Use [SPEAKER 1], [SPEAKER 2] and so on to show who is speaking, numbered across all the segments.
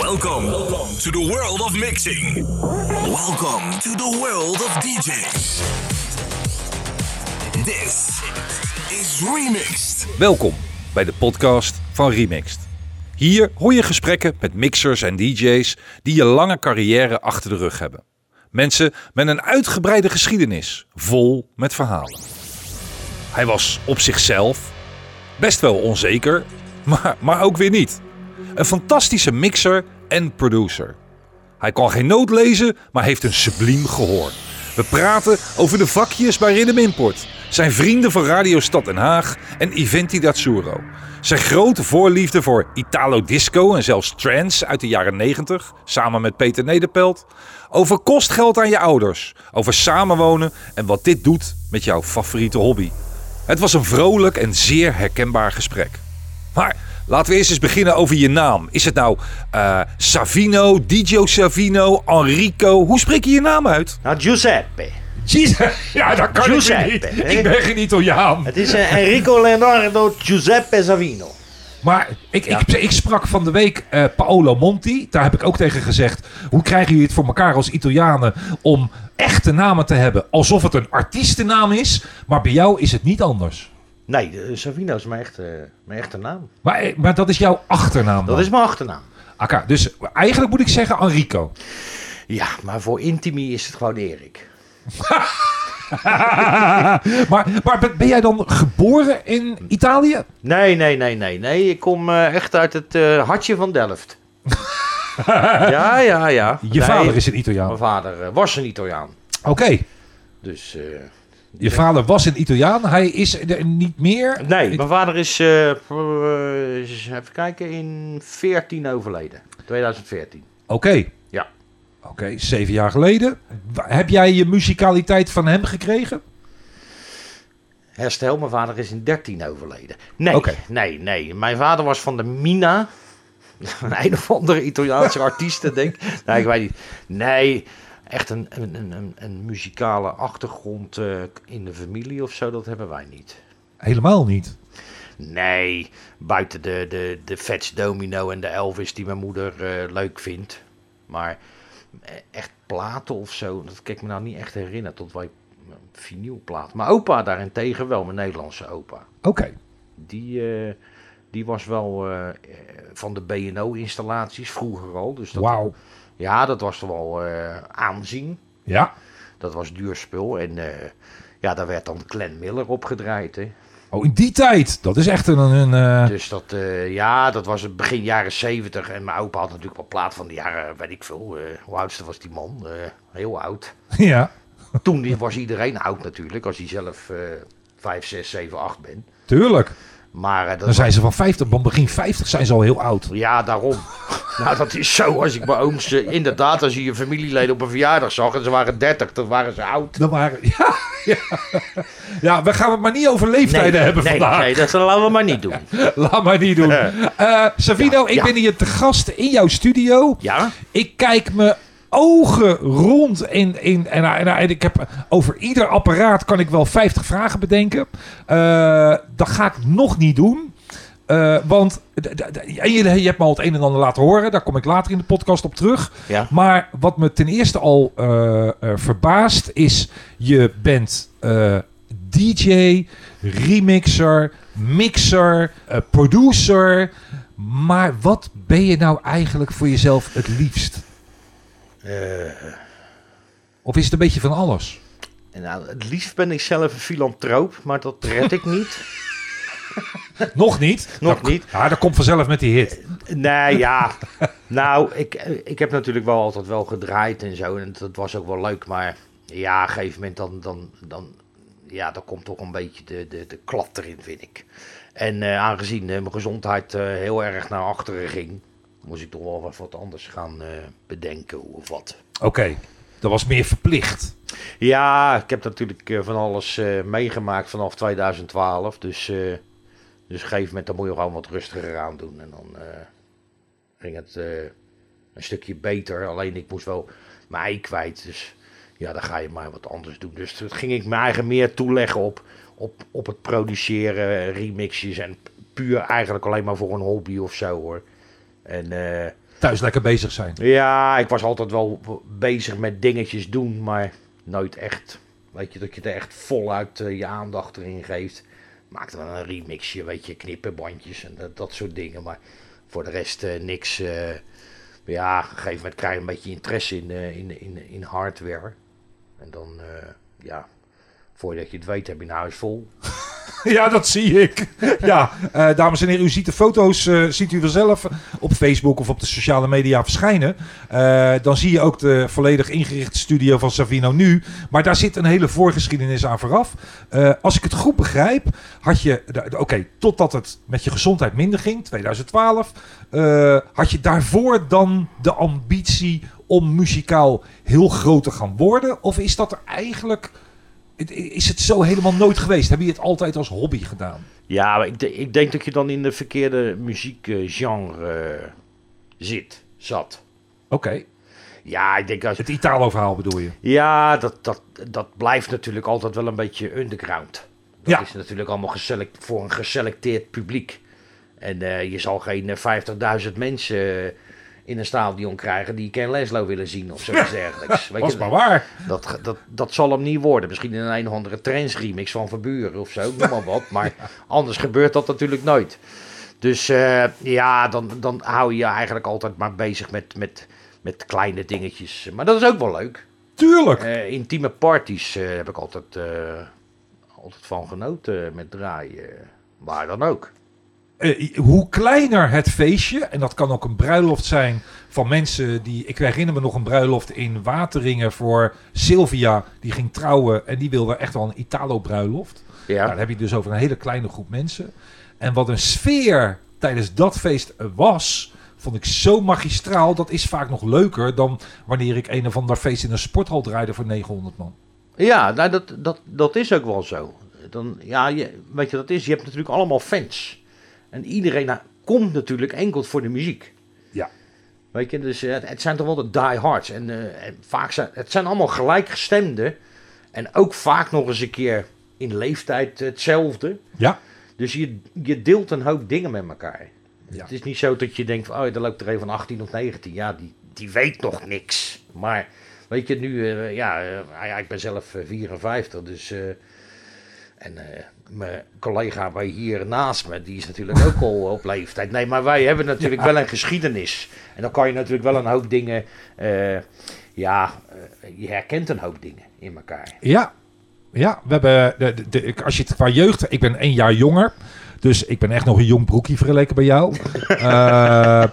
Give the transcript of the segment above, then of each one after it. [SPEAKER 1] Welcome to the world of mixing. Welcome to the world of DJs. This is Remixed.
[SPEAKER 2] Welkom bij de podcast van Remixed. Hier hoor je gesprekken met mixers en DJ's die een lange carrière achter de rug hebben. Mensen met een uitgebreide geschiedenis, vol met verhalen. Hij was op zichzelf, best wel onzeker, maar, maar ook weer niet. Een fantastische mixer en producer. Hij kan geen noot lezen, maar heeft een subliem gehoor. We praten over de vakjes bij Rhythm Import, zijn vrienden van Radio Stad Den Haag en Iventi d'Azzurro. Zijn grote voorliefde voor Italo Disco en zelfs trance uit de jaren 90, samen met Peter Nederpelt. Over kostgeld aan je ouders, over samenwonen en wat dit doet met jouw favoriete hobby. Het was een vrolijk en zeer herkenbaar gesprek. Maar laten we eerst eens beginnen over je naam. Is het nou eh, Savino, DJ Savino, Enrico? Hoe spreek je je naam uit?
[SPEAKER 3] Nou, Giuseppe.
[SPEAKER 2] Jezus, ja, dat kan
[SPEAKER 3] Giuseppe,
[SPEAKER 2] ik weer niet.
[SPEAKER 3] hè?
[SPEAKER 2] Ik ben geen Italiaan.
[SPEAKER 3] Het is eh, Enrico Leonardo Giuseppe Savino.
[SPEAKER 2] Maar ik, ik, ik sprak van de week eh, Paolo Monti. Daar heb ik ook tegen gezegd. Hoe krijgen jullie het voor elkaar als Italianen om echte namen te hebben? Alsof het een artiestennaam is. Maar bij jou is het niet anders.
[SPEAKER 3] Nee, de- Savino is mijn echte, mijn echte naam.
[SPEAKER 2] Maar, eh, maar dat is jouw achternaam.
[SPEAKER 3] Dat
[SPEAKER 2] dan.
[SPEAKER 3] is mijn achternaam.
[SPEAKER 2] Akka, dus eigenlijk moet ik zeggen Enrico.
[SPEAKER 3] Ja, maar voor intimi is het gewoon Erik.
[SPEAKER 2] maar, maar ben jij dan geboren in Italië?
[SPEAKER 3] Nee, nee, nee, nee, nee. Ik kom eh, echt uit het eh, hartje van Delft. ja, ja, ja.
[SPEAKER 2] Je
[SPEAKER 3] Nee,
[SPEAKER 2] vader is een Italiaan.
[SPEAKER 3] Mijn
[SPEAKER 2] Oké,
[SPEAKER 3] vader eh, was een Italiaan. Dus... eh,
[SPEAKER 2] je vader was een Italiaan. Hij is er niet meer.
[SPEAKER 3] nee, mijn vader is... eh, eh, even kijken, in 14 overleden. 2014.
[SPEAKER 2] Oké.
[SPEAKER 3] Ja.
[SPEAKER 2] Oké, zeven jaar geleden. W- Heb jij je muzikaliteit van hem gekregen?
[SPEAKER 3] Herstel, mijn vader is in 13 overleden. Nee,
[SPEAKER 2] Oké.
[SPEAKER 3] nee, nee. Mijn vader was van de Mina. Een een of andere Italiaanse artiesten, denk ik. Nee, ik weet niet. Nee, echt een, een, een, een, een muzikale achtergrond eh, in de familie of zo, dat hebben wij niet.
[SPEAKER 2] Helemaal niet.
[SPEAKER 3] Nee, buiten de, de, de Fats Domino en de Elvis die mijn moeder eh, leuk vindt. Maar eh, echt platen of zo, dat kan ik me nou niet echt herinneren. Tot wij eh, vinylplaat. Mijn opa daarentegen wel, mijn Nederlandse opa.
[SPEAKER 2] Oké.
[SPEAKER 3] Die, eh, die was wel eh, eh, van de BNO-installaties vroeger al. Dus dat,
[SPEAKER 2] Wauw.
[SPEAKER 3] Ja, dat was wel eh, aanzien.
[SPEAKER 2] Ja.
[SPEAKER 3] Dat was duur spul. En eh, ja, daar werd dan Glenn Miller opgedraaid. Hè.
[SPEAKER 2] Oh, in die tijd. Dat is echt een... een eh,
[SPEAKER 3] Dus dat, eh, ja, dat was het begin jaren zeventig. En mijn opa had natuurlijk wel plaat van de jaren, weet ik veel. eh, hoe oudste was die man? Eh, heel oud.
[SPEAKER 2] ja.
[SPEAKER 3] Toen was iedereen oud natuurlijk, als hij zelf eh 5, 6, 7, 8 bent.
[SPEAKER 2] Tuurlijk.
[SPEAKER 3] Maar eh, dat
[SPEAKER 2] Dan zijn ze van 50. Van begin 50 zijn ze al heel oud.
[SPEAKER 3] Ja, daarom. nou, dat is zo. Als ik mijn ooms... eh, inderdaad, als je je familieleden op een verjaardag zag... en ze waren 30, dan waren ze oud.
[SPEAKER 2] Dan waren... Ja. Ja. ja, we gaan het maar niet over leeftijden hebben
[SPEAKER 3] nee,
[SPEAKER 2] vandaag.
[SPEAKER 3] nee, dat laten we maar niet doen.
[SPEAKER 2] Laat maar niet doen. Eh, Savino, ik
[SPEAKER 3] ja.
[SPEAKER 2] ben hier te gast in jouw studio.
[SPEAKER 3] Ja?
[SPEAKER 2] Ik kijk me ogen rond in, in, en, en, en ik heb over ieder apparaat kan ik wel 50 vragen bedenken. Eh, dat ga ik nog niet doen. Eh, want d- d- d- en je, je hebt me al het een en ander laten horen. Daar kom ik later in de podcast op terug.
[SPEAKER 3] Ja.
[SPEAKER 2] Maar wat me ten eerste al eh, eh, verbaast is... je bent eh, DJ, remixer, mixer, eh, producer... maar wat ben je nou eigenlijk voor jezelf het liefst?
[SPEAKER 3] Eh,
[SPEAKER 2] Of is het een beetje van alles?
[SPEAKER 3] Nou, het liefst ben ik zelf een filantroop, maar dat red ik niet.
[SPEAKER 2] Nog niet?
[SPEAKER 3] Nog
[SPEAKER 2] Dat-
[SPEAKER 3] niet.
[SPEAKER 2] Ja, dat komt vanzelf met die hit.
[SPEAKER 3] nee, ja. Nou, ik, ik heb natuurlijk wel altijd wel gedraaid en zo. En dat was ook wel leuk. Maar ja, op een gegeven moment dan... dan, dan ja, dan komt toch een beetje de, de, de klap erin, vind ik. En eh, aangezien eh, mijn gezondheid eh, heel erg naar achteren ging... moest ik toch wel wat- wat anders gaan eh, bedenken of wat.
[SPEAKER 2] Oké, dat was meer verplicht.
[SPEAKER 3] Ja, ik heb natuurlijk eh, van alles eh, meegemaakt vanaf 2012. Dus, eh, dus op een gegeven moment dan moet je gewoon wat rustiger aan doen. En dan eh, ging het eh, een stukje beter. Alleen ik moest wel mijn ei kwijt. Dus ja, dan ga je maar wat anders doen. Dus toen ging ik mijn eigen meer toeleggen op, op, op het produceren, remixjes. En puur eigenlijk alleen maar voor een hobby of zo hoor. En eh,
[SPEAKER 2] Thuis lekker bezig zijn.
[SPEAKER 3] ja, ik was altijd wel bezig met dingetjes doen, maar nooit echt. Weet je, dat je er echt voluit eh, je aandacht erin geeft. Maakte wel een remixje, weet je, knippenbandjes en dat, dat soort dingen. Maar voor de rest eh, niks. eh, ja, op een gegeven moment krijg je een beetje interesse in, eh, in, in, in hardware. En dan, eh, ja, voordat je het weet heb je een huis vol.
[SPEAKER 2] Ja, dat zie ik. Ja, eh, dames en heren, u ziet de foto's eh, ziet u vanzelf op Facebook of op de sociale media verschijnen. Eh, dan zie je ook de volledig ingerichte studio van Savino nu. Maar daar zit een hele voorgeschiedenis aan vooraf. Eh, als ik het goed begrijp, had je, da- oké, totdat het met je gezondheid minder ging, 2012, eh, had je daarvoor dan de ambitie om muzikaal heel groot te gaan worden? Of is dat er eigenlijk het- Is het zo helemaal nooit geweest? Hebben je het altijd als hobby gedaan?
[SPEAKER 3] Ja, maar ik, de- ik denk dat je dan in de verkeerde muziekgenre eh, zit, zat.
[SPEAKER 2] Oké.
[SPEAKER 3] Ja, ik denk als...
[SPEAKER 2] Het Italo-verhaal bedoel je?
[SPEAKER 3] Ja, dat, dat, dat blijft natuurlijk altijd wel een beetje underground. Dat
[SPEAKER 2] Ja.
[SPEAKER 3] is natuurlijk allemaal geselect, voor een geselecteerd publiek. En eh, je zal geen eh, 50.000 mensen eh, in een stadion krijgen die Ken Leslo willen zien of zoiets dergelijks. Weet
[SPEAKER 2] Was
[SPEAKER 3] je,
[SPEAKER 2] maar waar.
[SPEAKER 3] dat, dat, dat zal hem niet worden. Misschien in een, een of andere trends remix van Verburen of zo, ik noem maar wat. Maar anders gebeurt dat natuurlijk nooit. Dus eh, ja, dan, dan hou je je eigenlijk altijd maar bezig met, met, met kleine dingetjes. Maar dat is ook wel leuk.
[SPEAKER 2] Tuurlijk.
[SPEAKER 3] Eh, intieme parties eh, heb ik altijd, eh, altijd van genoten eh, met draaien. Waar dan ook.
[SPEAKER 2] Eh, hoe kleiner het feestje, en dat kan ook een bruiloft zijn van mensen die. Ik herinner me nog een bruiloft in Wateringen voor Sylvia. Die ging trouwen en die wilde echt wel een Italo-bruiloft.
[SPEAKER 3] Ja.
[SPEAKER 2] Nou, dan heb je het dus over een hele kleine groep mensen. En wat een sfeer tijdens dat feest er was, vond ik zo magistraal. Dat is vaak nog leuker dan wanneer ik een of ander feest in een sporthal draaide voor 900 man.
[SPEAKER 3] Ja, nou, dat, dat, dat is ook wel zo. Dan, ja, je, weet je, dat is, je hebt natuurlijk allemaal fans. En iedereen nou, komt natuurlijk enkel voor de muziek.
[SPEAKER 2] Ja.
[SPEAKER 3] Weet je, dus eh, het, het zijn toch wel de diehards. En, eh, en vaak zijn het zijn allemaal gelijkgestemden. En ook vaak nog eens een keer in leeftijd hetzelfde.
[SPEAKER 2] Ja,
[SPEAKER 3] Dus je, je deelt een hoop dingen met elkaar.
[SPEAKER 2] Ja.
[SPEAKER 3] Het is niet zo dat je denkt, van, oh, er loopt er een van 18 of 19. Ja, die, die weet nog niks. Maar weet je, nu, eh, ja, eh, ah ja, ik ben zelf eh, 54, dus... eh, en eh, mijn collega bij hier naast me, die is natuurlijk ook al op leeftijd. Nee, maar wij hebben natuurlijk wel een geschiedenis. En dan kan je natuurlijk wel een hoop dingen... eh, ja, eh, je herkent een hoop dingen in elkaar.
[SPEAKER 2] ja. Ja, we hebben, de, de- de- als je het qua jeugd, ik ben één jaar jonger. Dus ik ben echt nog een jong broekje vergeleken bij jou. Eh,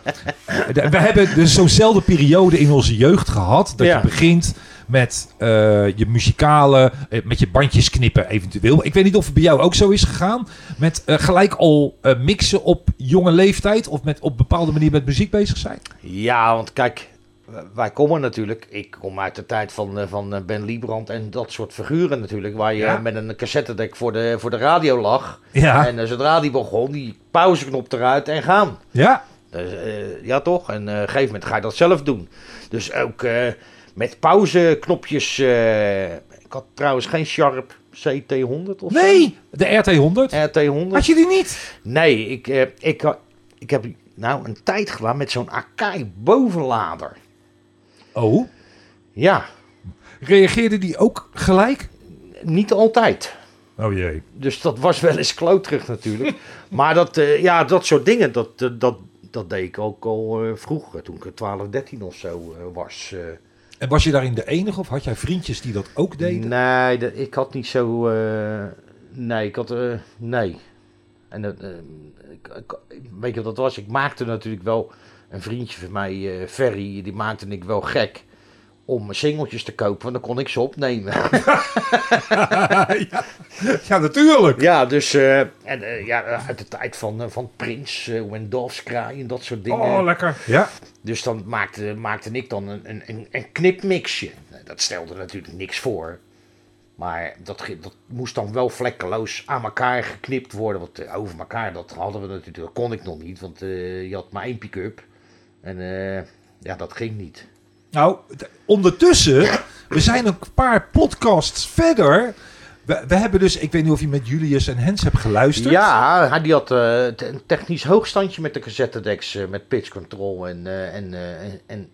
[SPEAKER 2] de- we hebben dus zo'nzelfde periode in onze jeugd gehad. Dat
[SPEAKER 3] Ja.
[SPEAKER 2] je begint met eh, je muzikale, eh, met je bandjes knippen eventueel. Ik weet niet of het bij jou ook zo is gegaan. Met eh, gelijk al eh, mixen op jonge leeftijd. Of met op bepaalde manier met muziek bezig zijn.
[SPEAKER 3] Ja, want kijk, w- wij komen natuurlijk. Ik kom uit de tijd van, eh, van eh, Ben Liebrand en dat soort figuren natuurlijk. Waar je
[SPEAKER 2] Ja.
[SPEAKER 3] eh, met een cassettedek voor de, voor de radio lag.
[SPEAKER 2] Ja.
[SPEAKER 3] En eh, zodra die begon, die pauzeknop eruit en gaan.
[SPEAKER 2] Ja,
[SPEAKER 3] Dus, eh, ja, toch? En eh, op een gegeven moment ga je dat zelf doen. Dus ook eh, met pauzeknopjes. eh, ik had trouwens geen Sharp CT100 of zo.
[SPEAKER 2] nee, de RT100.
[SPEAKER 3] RT100.
[SPEAKER 2] Had je die niet?
[SPEAKER 3] Nee, ik, eh, ik, ha- ik heb nou een tijd gedaan met zo'n Akai bovenlader.
[SPEAKER 2] Oh,
[SPEAKER 3] Ja,
[SPEAKER 2] reageerde die ook gelijk?
[SPEAKER 3] Niet altijd.
[SPEAKER 2] Oh jee.
[SPEAKER 3] Dus dat was wel eens kloterig natuurlijk. maar dat, eh, ja, dat soort dingen, dat, eh, dat, dat deed ik ook al eh, vroeger, toen ik eh, 12, 13 of zo eh, was. eh.
[SPEAKER 2] En was je daarin de enige of had jij vriendjes die dat ook deden?
[SPEAKER 3] nee, dat- ik had niet zo... eh, nee, ik had... eh, nee. En dat, eh, ik, ik- weet je wat dat was? Ik maakte natuurlijk wel... Een vriendje van mij, eh, Ferry, die maakte ik wel gek om singeltjes te kopen, want dan kon ik ze opnemen.
[SPEAKER 2] ja. ja, natuurlijk.
[SPEAKER 3] Ja, dus eh, en, eh, ja, uit de tijd van, eh, van Prins, eh When Doves Cry en dat soort dingen.
[SPEAKER 2] Oh, lekker. Ja.
[SPEAKER 3] dus dan maakte, maakte ik dan een, een- een, een knipmixje. Nou, Dat stelde natuurlijk niks voor. Maar dat, ge- dat moest dan wel vlekkeloos aan elkaar geknipt worden. Want eh, over elkaar, dat hadden we natuurlijk, dat kon ik nog niet. Want eh, je had maar één pick-up. En eh, ja, dat ging niet.
[SPEAKER 2] Nou, d- ondertussen, we zijn een paar podcasts verder. We, we hebben dus, ik weet niet of je met Julius en Hens hebt geluisterd.
[SPEAKER 3] Ja, hij die had eh, te- een technisch hoogstandje met de cassettedeks, eh, met pitch control en, eh, en, eh, en, en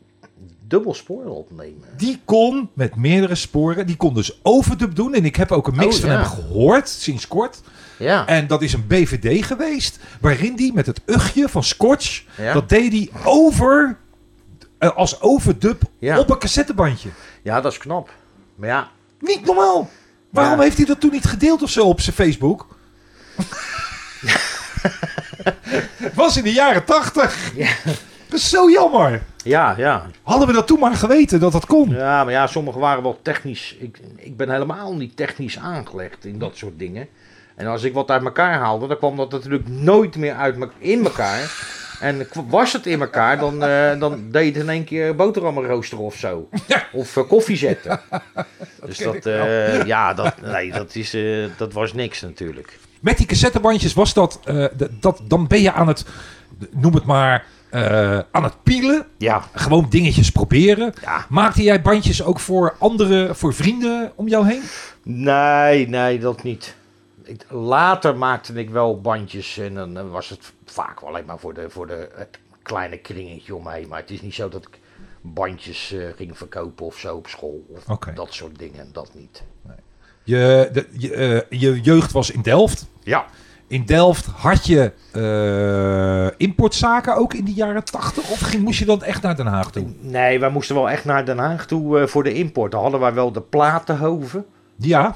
[SPEAKER 3] dubbel spoor opnemen.
[SPEAKER 2] Die kon met meerdere sporen, die kon dus overdub doen. En ik heb ook een mix
[SPEAKER 3] Oh,
[SPEAKER 2] van
[SPEAKER 3] ja.
[SPEAKER 2] hem gehoord, sinds kort.
[SPEAKER 3] Ja,
[SPEAKER 2] En dat is een BVD geweest, waarin die met het ugje van Scotch,
[SPEAKER 3] Ja.
[SPEAKER 2] dat deed hij over, eh, als overdub
[SPEAKER 3] Ja.
[SPEAKER 2] op een cassettebandje.
[SPEAKER 3] ja, dat is knap. Maar ja,
[SPEAKER 2] Niet normaal! Waarom
[SPEAKER 3] Ja.
[SPEAKER 2] heeft hij dat toen niet gedeeld of zo op zijn Facebook? Het was in de jaren tachtig. Dat is zo jammer.
[SPEAKER 3] ja, ja.
[SPEAKER 2] Hadden we dat toen maar geweten dat dat kon.
[SPEAKER 3] Ja, maar ja, sommigen waren wel technisch. Ik, ik ben helemaal niet technisch aangelegd in dat soort dingen. En als ik wat uit elkaar haalde, dan kwam dat natuurlijk nooit meer uit me- in elkaar. En k- was het in elkaar, dan, eh, dan deed het in één keer boterhammen roosteren of zo. Of eh, koffie zetten. dus dat, eh, ja, dat, nee, dat, is, eh, dat was niks natuurlijk.
[SPEAKER 2] Met die cassettebandjes was dat, eh, d- dat... Dan ben je aan het, noem het maar, eh, aan het pielen.
[SPEAKER 3] Ja,
[SPEAKER 2] Gewoon dingetjes proberen.
[SPEAKER 3] Ja.
[SPEAKER 2] Maakte jij bandjes ook voor andere, voor vrienden om jou heen?
[SPEAKER 3] Nee, nee, dat niet. Ik, later maakte ik wel bandjes en dan eh, was het vaak wel alleen maar voor, de, voor de, het kleine kringetje omheen. Maar het is niet zo dat ik bandjes eh, ging verkopen of zo op school. Of
[SPEAKER 2] Oké.
[SPEAKER 3] dat soort dingen, dat niet.
[SPEAKER 2] Je, de- je, eh, je jeugd was in Delft.
[SPEAKER 3] Ja.
[SPEAKER 2] In Delft had je eh, importzaken ook in de jaren 80? Of ging, moest je dan echt naar Den Haag toe?
[SPEAKER 3] Nee, wij moesten wel echt naar Den Haag toe eh, voor de import. Dan hadden wij wel de platenhoven.
[SPEAKER 2] Ja.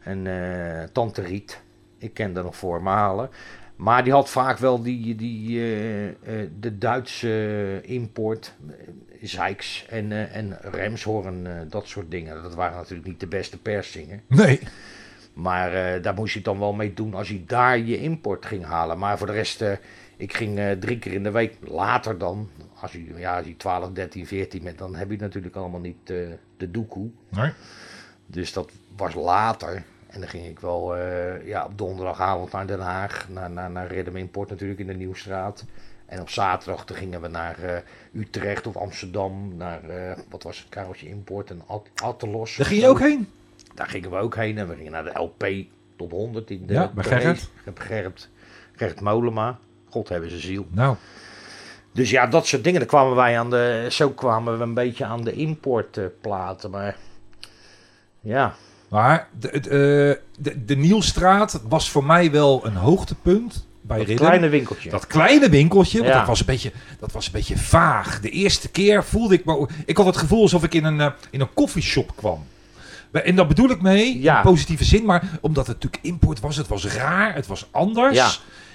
[SPEAKER 3] En eh, Tante Riet, ik ken daar nog voor me halen. Maar die had vaak wel die, die, eh, eh, de Duitse eh, import, eh, Zeiks en, eh, en Remshorn, eh, dat soort dingen. Dat waren natuurlijk niet de beste persingen.
[SPEAKER 2] Nee.
[SPEAKER 3] Maar eh, daar moest je het dan wel mee doen als je daar je import ging halen. Maar voor de rest, eh, ik ging eh, drie keer in de week later dan. Als je, ja, als je 12, 13, 14 bent, dan heb je natuurlijk allemaal niet eh, de doekoe.
[SPEAKER 2] nee.
[SPEAKER 3] Dus dat was later. En dan ging ik wel eh, ja, op donderdagavond naar Den Haag, naar, naar, naar Rhythm Import natuurlijk in de Nieuwstraat. En op zaterdag dan gingen we naar eh, Utrecht of Amsterdam, naar eh, wat was het, Kareltje Import en At Attelos.
[SPEAKER 2] Daar ging je ook heen?
[SPEAKER 3] Daar gingen we ook heen en we gingen naar de LP Top 100 in de
[SPEAKER 2] Ja, bij
[SPEAKER 3] Carré.
[SPEAKER 2] Gerrit.
[SPEAKER 3] Gerrit, Gerrit Molema. God hebben ze ziel.
[SPEAKER 2] Nou.
[SPEAKER 3] Dus ja, dat soort dingen. Dan kwamen wij aan de, zo kwamen we een beetje aan de importplaten. Maar ja,
[SPEAKER 2] Maar de, de, de, de Nielstraat was voor mij wel een hoogtepunt bij
[SPEAKER 3] dat
[SPEAKER 2] Ridder.
[SPEAKER 3] kleine winkeltje.
[SPEAKER 2] Dat kleine winkeltje, want
[SPEAKER 3] Ja.
[SPEAKER 2] dat, was een beetje, dat was een beetje vaag. De eerste keer voelde ik me... Ik had het gevoel alsof ik in een, eh, in een koffieshop kwam. En dat bedoel ik mee,
[SPEAKER 3] Ja.
[SPEAKER 2] in positieve zin. Maar omdat het natuurlijk import was, het was raar, het was anders.
[SPEAKER 3] Ja.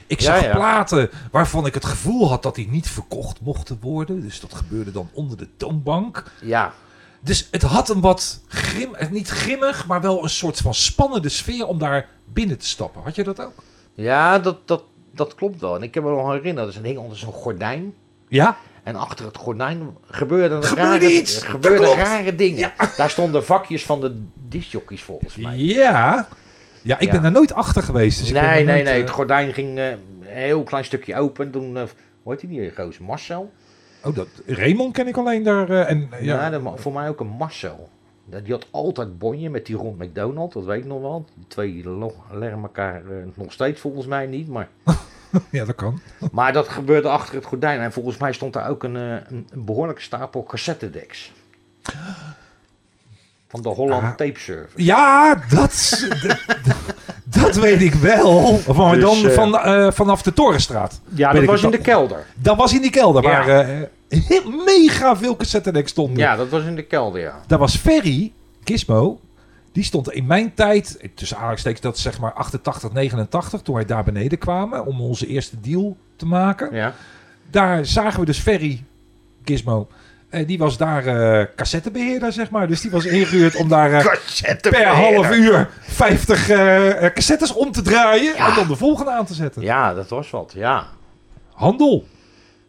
[SPEAKER 2] Ik
[SPEAKER 3] Ja,
[SPEAKER 2] zag
[SPEAKER 3] ja.
[SPEAKER 2] platen waarvan ik het gevoel had dat die niet verkocht mochten worden. Dus dat gebeurde dan onder de toonbank.
[SPEAKER 3] Ja,
[SPEAKER 2] Dus het had een wat grim, eh, niet grimmig, maar wel een soort van spannende sfeer om daar binnen te stappen. Had je dat ook?
[SPEAKER 3] ja dat, dat, dat klopt wel. En ik heb me nog herinnerd, er hing onder zo'n gordijn.
[SPEAKER 2] Ja.
[SPEAKER 3] En achter het gordijn gebeurde, een
[SPEAKER 2] Gebeurde
[SPEAKER 3] rare,
[SPEAKER 2] iets!
[SPEAKER 3] er gebeurden
[SPEAKER 2] Dat klopt!
[SPEAKER 3] rare dingen. Daar stonden vakjes van de discjockeys volgens mij.
[SPEAKER 2] Ja. Ja, ik
[SPEAKER 3] Ja.
[SPEAKER 2] ben daar nooit achter geweest. Dus ik ben
[SPEAKER 3] nee,
[SPEAKER 2] daar
[SPEAKER 3] nee,
[SPEAKER 2] nooit,
[SPEAKER 3] nee.
[SPEAKER 2] eh,
[SPEAKER 3] Het gordijn ging eh, een heel klein stukje open. Toen, eh, hoe heet die hier, Goos? Marcel?
[SPEAKER 2] oh, dat, Raymond ken ik alleen daar. eh, en, eh,
[SPEAKER 3] Ja,
[SPEAKER 2] ja.
[SPEAKER 3] dat ma- voor mij ook een Marcel. Dat- Die had altijd bonje met die rond McDonald, dat weet ik nog wel. Die twee lo- leggen elkaar eh, nog steeds volgens mij niet, maar...
[SPEAKER 2] ja, dat kan.
[SPEAKER 3] Maar dat gebeurde achter het gordijn. En volgens mij stond daar ook een, eh, een, een behoorlijke stapel cassettedeks. Van de Holland
[SPEAKER 2] Ah.
[SPEAKER 3] Tape Server.
[SPEAKER 2] Ja, dat, is- d- d- dat weet ik wel. Maar
[SPEAKER 3] Dus,
[SPEAKER 2] dan
[SPEAKER 3] eh,
[SPEAKER 2] van, eh, vanaf de Torenstraat.
[SPEAKER 3] Ja,
[SPEAKER 2] Weet
[SPEAKER 3] dat
[SPEAKER 2] ik
[SPEAKER 3] was in
[SPEAKER 2] het
[SPEAKER 3] de
[SPEAKER 2] al.
[SPEAKER 3] kelder.
[SPEAKER 2] Dat was in die kelder
[SPEAKER 3] Ja.
[SPEAKER 2] waar eh, heel mega veel cassettedeks stonden.
[SPEAKER 3] Ja, dat was in de kelder, ja.
[SPEAKER 2] Daar was Ferry, Gizmo, die stond in mijn tijd, eh, tussen aanhalingstekens dat is zeg maar 88, 89, toen wij daar beneden kwamen om onze eerste deal te maken.
[SPEAKER 3] Ja,
[SPEAKER 2] Daar zagen we dus Ferry, Gizmo, eh, die was daar eh, cassettebeheerder zeg maar. Dus die was ingehuurd om daar eh, per half uur 50 eh, eh, cassettes om te draaien en dan de volgende aan te zetten.
[SPEAKER 3] ja dat was wat, ja.
[SPEAKER 2] Handel.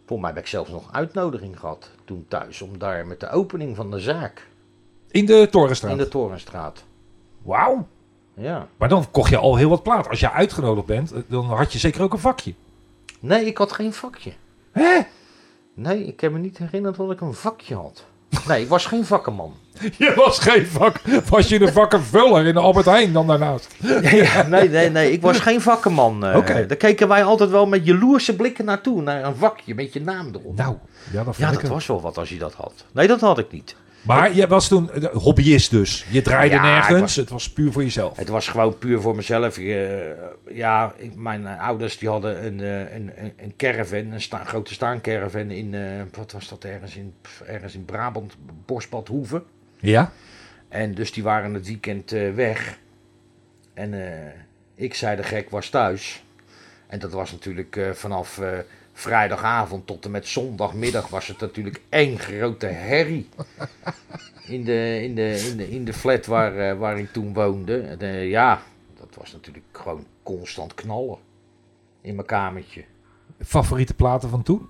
[SPEAKER 3] Volgens mij heb ik zelfs nog uitnodiging gehad toen thuis... om daar met de opening van de zaak
[SPEAKER 2] In de
[SPEAKER 3] in
[SPEAKER 2] Torenstraat.
[SPEAKER 3] de Torenstraat.
[SPEAKER 2] Wauw.
[SPEAKER 3] Ja.
[SPEAKER 2] Maar dan kocht je al heel wat plaat. Als je uitgenodigd bent, eh, dan had je zeker ook een vakje.
[SPEAKER 3] Nee, ik had geen vakje.
[SPEAKER 2] Hè?
[SPEAKER 3] Nee, ik heb me niet herinnerd dat ik een vakje had. Nee, ik was geen vakkenman.
[SPEAKER 2] Je was geen vak. Was je de vakkenvuller in de Albert Heijn dan daarnaast?
[SPEAKER 3] Nee, nee, nee. Ik was geen vakkenman. eh.
[SPEAKER 2] Oké.
[SPEAKER 3] Daar keken wij altijd wel met jaloerse blikken naartoe. Naar een vakje met je naam erop.
[SPEAKER 2] Nou, ja, dat,
[SPEAKER 3] ja,
[SPEAKER 2] vond
[SPEAKER 3] dat
[SPEAKER 2] ik hem.
[SPEAKER 3] was wel wat als je dat had. Nee, dat had ik niet.
[SPEAKER 2] Maar je was toen eh, hobbyist dus. Je draaide
[SPEAKER 3] Ja,
[SPEAKER 2] nergens.
[SPEAKER 3] ik was-
[SPEAKER 2] Het was puur voor jezelf.
[SPEAKER 3] Het was gewoon puur voor mezelf. Eh, ja, ik- mijn eh, ouders die hadden een, eh, een, een, een caravan, een sta, grote staancaravan in, eh, wat was dat, ergens in, pff, ergens in Brabant, Bosbad Hoeven.
[SPEAKER 2] Ja?
[SPEAKER 3] En dus die waren het weekend eh, weg. En eh, ik zei de gek was thuis. En dat was natuurlijk eh, vanaf eh, vrijdagavond tot en met zondagmiddag was het natuurlijk één grote herrie. In de, in de, in de, in de flat waar, eh, waar ik toen woonde. En, eh, ja, dat was natuurlijk gewoon constant knallen. In mijn kamertje.
[SPEAKER 2] Favoriete platen van toen?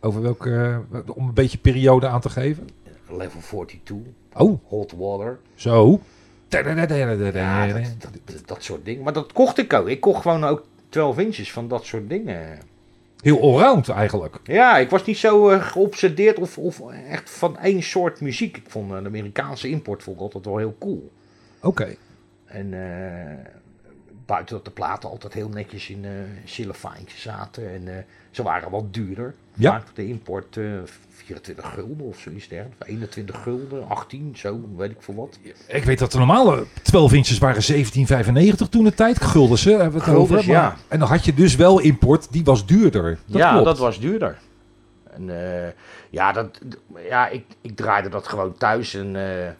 [SPEAKER 2] Over welke, eh, om een beetje periode aan te geven?
[SPEAKER 3] Level 42,
[SPEAKER 2] Oh,
[SPEAKER 3] hot water.
[SPEAKER 2] zo.
[SPEAKER 3] Ja, dat, dat, dat, dat soort dingen. Maar dat kocht ik ook. Ik kocht gewoon ook 12 inches van dat soort dingen.
[SPEAKER 2] Heel allround eigenlijk.
[SPEAKER 3] Ja, ik was niet zo eh, geobsedeerd of, of echt van één soort muziek. Ik vond eh, de Amerikaanse import vond ik altijd wel heel cool.
[SPEAKER 2] Oké.
[SPEAKER 3] En eh, buiten dat de platen altijd heel netjes in eh cellofaantjes zaten. En eh, ze waren wat duurder.
[SPEAKER 2] Ja.
[SPEAKER 3] Vaak de import eh, 24 gulden of zoiets dergelijks. 21 gulden, 18, zo, weet ik veel wat.
[SPEAKER 2] Ik weet dat de normale 12 inches waren 17,95 toen de tijd. Guldens, hè? Hebben we het
[SPEAKER 3] Guldens,
[SPEAKER 2] over, maar-
[SPEAKER 3] ja.
[SPEAKER 2] En dan had je dus wel import, die was duurder. Dat
[SPEAKER 3] ja,
[SPEAKER 2] klopt.
[SPEAKER 3] dat was duurder. En, eh, ja, dat, ja ik, ik draaide dat gewoon thuis. En, eh, en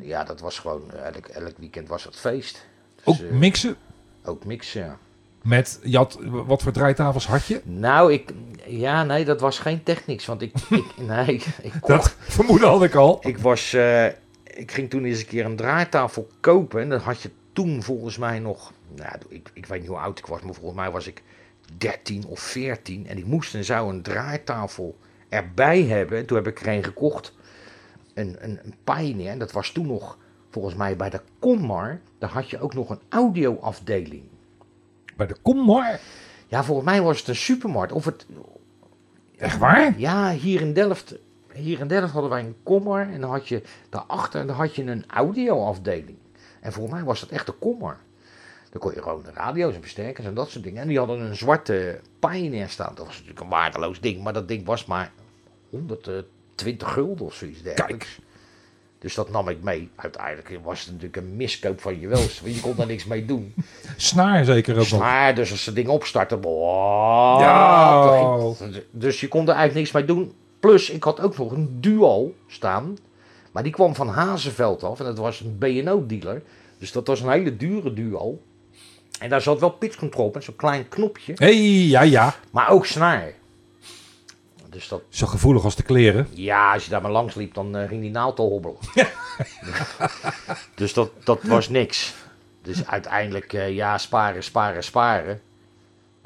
[SPEAKER 3] ja, dat was gewoon, elk, elk weekend was dat feest. Dus,
[SPEAKER 2] Ook
[SPEAKER 3] eh,
[SPEAKER 2] mixen
[SPEAKER 3] ook mixen, ja.
[SPEAKER 2] met, je had, wat voor draaitafels had je?
[SPEAKER 3] Nou, ik, ja, nee, dat was geen technics. Want ik, ik nee, ik, kocht-
[SPEAKER 2] Dat vermoeden had ik al.
[SPEAKER 3] ik was, eh, ik ging toen eens een keer een draaitafel kopen. En dat had je toen volgens mij nog, nou, ik, ik weet niet hoe oud ik was, maar volgens mij was ik 13 of 14. En ik moest en zou een draaitafel erbij hebben. En toen heb ik er een gekocht. Een, een, een Pioneer. En dat was toen nog, volgens mij bij de Conmar, daar had je ook nog een audioafdeling.
[SPEAKER 2] Bij de kom maar.
[SPEAKER 3] Ja, volgens mij was het een supermarkt. Of het,
[SPEAKER 2] Echt waar?
[SPEAKER 3] Ja, hier in Delft. Hier in Delft hadden wij een kommer en dan had je daarachter en dan had je een audioafdeling. En volgens mij was dat echt de kommer. Dan kon je gewoon de radio's en versterkers en dat soort dingen. En die hadden een zwarte Pioneer staan. Dat was natuurlijk een waardeloos ding, maar dat ding was maar 120 gulden of zoiets dergelijks. Dus dat nam ik mee. Uiteindelijk was het natuurlijk een miskoop van je welste, want je kon daar niks mee doen.
[SPEAKER 2] Snaar zeker ook nog.
[SPEAKER 3] Maar dus als ze ding opstartte. boah,
[SPEAKER 2] Ja.
[SPEAKER 3] dat ging- Dus je kon er eigenlijk niks mee doen. Plus, ik had ook nog een duo staan. Maar die kwam van Hazenveld af. En dat was een BNO-dealer. Dus dat was een hele dure duo. En daar zat wel pitch control op met zo'n klein knopje.
[SPEAKER 2] Hé, ja, ja.
[SPEAKER 3] Maar ook snaar. Dus dat,
[SPEAKER 2] Zo gevoelig als de kleren.
[SPEAKER 3] ja, als je daar maar langs liep, dan eh, ging die naald al hobbelen. dus dat, dat was niks. Dus uiteindelijk, eh, ja, sparen, sparen, sparen.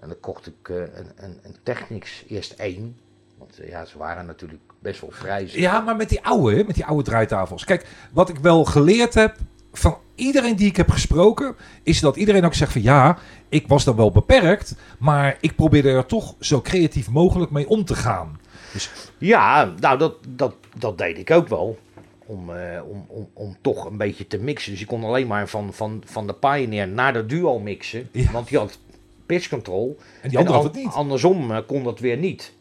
[SPEAKER 3] En dan kocht ik eh, een, een, een Technics, eerst één. Want eh, ja, ze waren natuurlijk best wel vrij.
[SPEAKER 2] Ja, maar met die oude, hè, met die oude draaitafels. Kijk, wat ik wel geleerd heb van iedereen die ik heb gesproken, is dat iedereen ook zegt van ja, ik was dan wel beperkt, maar ik probeerde er toch zo creatief mogelijk mee om te gaan.
[SPEAKER 3] Ja, nou, dat, dat, dat deed ik ook wel. Om, eh, om, om, om toch een beetje te mixen. Dus je kon alleen maar van, van, van de Pioneer naar de Duo mixen.
[SPEAKER 2] Ja.
[SPEAKER 3] Want die had pitch control.
[SPEAKER 2] En die andere
[SPEAKER 3] an-
[SPEAKER 2] had het niet.
[SPEAKER 3] Andersom eh, kon dat weer niet.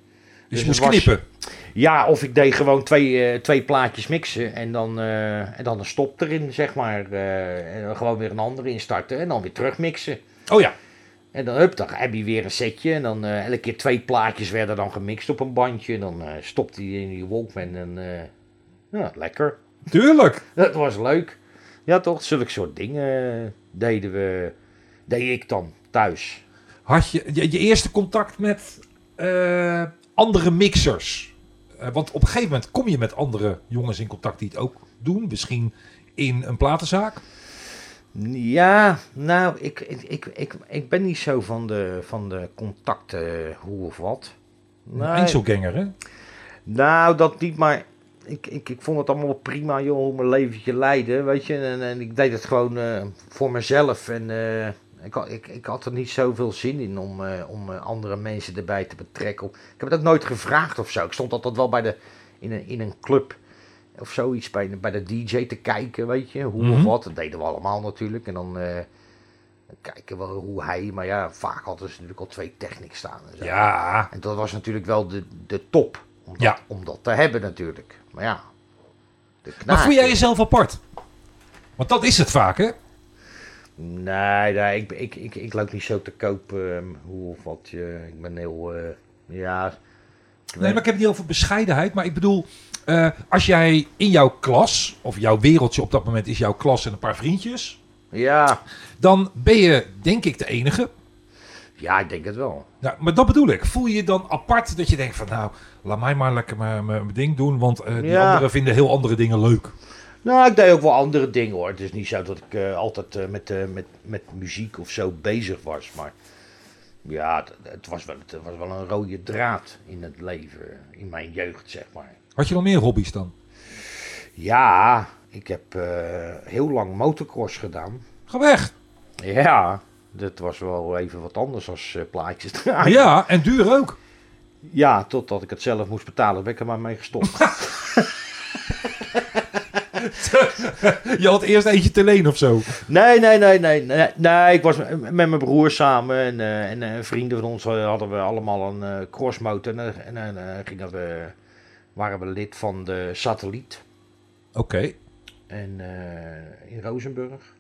[SPEAKER 2] Dus,
[SPEAKER 3] dus
[SPEAKER 2] je moest
[SPEAKER 3] het was-
[SPEAKER 2] knippen.
[SPEAKER 3] Ja, of ik deed gewoon twee, eh, twee plaatjes mixen en dan, eh, en dan een stop erin, zeg maar. eh, en dan gewoon weer een andere instarten en dan weer terugmixen.
[SPEAKER 2] Oh ja,
[SPEAKER 3] En dan, hup, dan heb je weer een setje. En dan eh, elke keer twee plaatjes werden dan gemixt op een bandje. En dan eh stopt hij in die Walkman en eh, ja, lekker.
[SPEAKER 2] tuurlijk.
[SPEAKER 3] Dat was leuk. Ja toch, zulke soort dingen eh, deden we, deed ik dan thuis.
[SPEAKER 2] Had je je, je eerste contact met eh, andere mixers? Eh, want op een gegeven moment kom je met andere jongens in contact die het ook doen. Misschien in een platenzaak.
[SPEAKER 3] Ja, nou, ik, ik, ik, ik, ik ben niet zo van de, van de contacten, eh, hoe of wat.
[SPEAKER 2] Een
[SPEAKER 3] Nee.
[SPEAKER 2] Einzelganger, hè?
[SPEAKER 3] Nou, dat niet, maar ik, ik, ik vond het allemaal wel prima, joh, hoe mijn leventje leiden, weet je. En, en ik deed het gewoon eh, voor mezelf en eh, ik, had- ik, ik had er niet zoveel zin in om, eh, om eh, andere mensen erbij te betrekken. Ik heb het ook nooit gevraagd of zo. Ik stond altijd wel bij de in een, in een club of zoiets bij, bij de DJ te kijken, weet je, hoe
[SPEAKER 2] Mhm.
[SPEAKER 3] of wat. Dat deden we allemaal natuurlijk. En dan eh, dan kijken we hoe hij, maar ja, vaak hadden ze natuurlijk al twee technics staan. En, zo.
[SPEAKER 2] Ja.
[SPEAKER 3] en dat was natuurlijk wel de, de top om dat,
[SPEAKER 2] Ja.
[SPEAKER 3] om dat te hebben natuurlijk. Maar ja, de
[SPEAKER 2] Maar voel
[SPEAKER 3] knaken-
[SPEAKER 2] jij jezelf apart? Want dat is het vaak, hè?
[SPEAKER 3] Nee, nee ik, ik, ik, ik loop niet zo te koop ehm, hoe of wat. eh, ik ben heel, eh, ja... ik
[SPEAKER 2] Nee, maar ik heb het niet over bescheidenheid. Maar ik bedoel, eh, als jij in jouw klas, of jouw wereldje op dat moment is jouw klas en een paar vriendjes.
[SPEAKER 3] Ja,
[SPEAKER 2] Dan ben je, denk ik, de enige.
[SPEAKER 3] ja, ik denk het wel.
[SPEAKER 2] Nou, maar dat bedoel ik. Voel je je dan apart dat je denkt van nou, laat mij maar lekker mijn- mijn mijn ding doen. Want eh, die
[SPEAKER 3] Ja.
[SPEAKER 2] anderen vinden heel andere dingen leuk.
[SPEAKER 3] Nou, ik deed ook wel andere dingen hoor. Het is niet zo dat ik eh, altijd eh, met, eh, met, met muziek of zo bezig was. Maar ja, het, het was wel, het was wel een rode draad in het leven. In mijn jeugd, zeg maar.
[SPEAKER 2] Had je nog meer hobby's dan?
[SPEAKER 3] Ja, ik heb eh, heel lang motocross gedaan.
[SPEAKER 2] Ga weg.
[SPEAKER 3] Ja, dat was wel even wat anders als eh, plaatjes draaien.
[SPEAKER 2] Ja, en duur ook.
[SPEAKER 3] Ja, totdat ik het zelf moest betalen, ben ik er maar mee gestopt.
[SPEAKER 2] Je had eerst eentje te leen of zo.
[SPEAKER 3] Nee, nee, nee, nee, nee, nee. Ik was met met mijn broer samen en, eh, en eh, vrienden van ons eh, hadden we allemaal een eh, crossmotor. En, eh, en eh, gingen we, waren we lid van de Satelliet
[SPEAKER 2] Oké.
[SPEAKER 3] en, eh, in Rozenburg.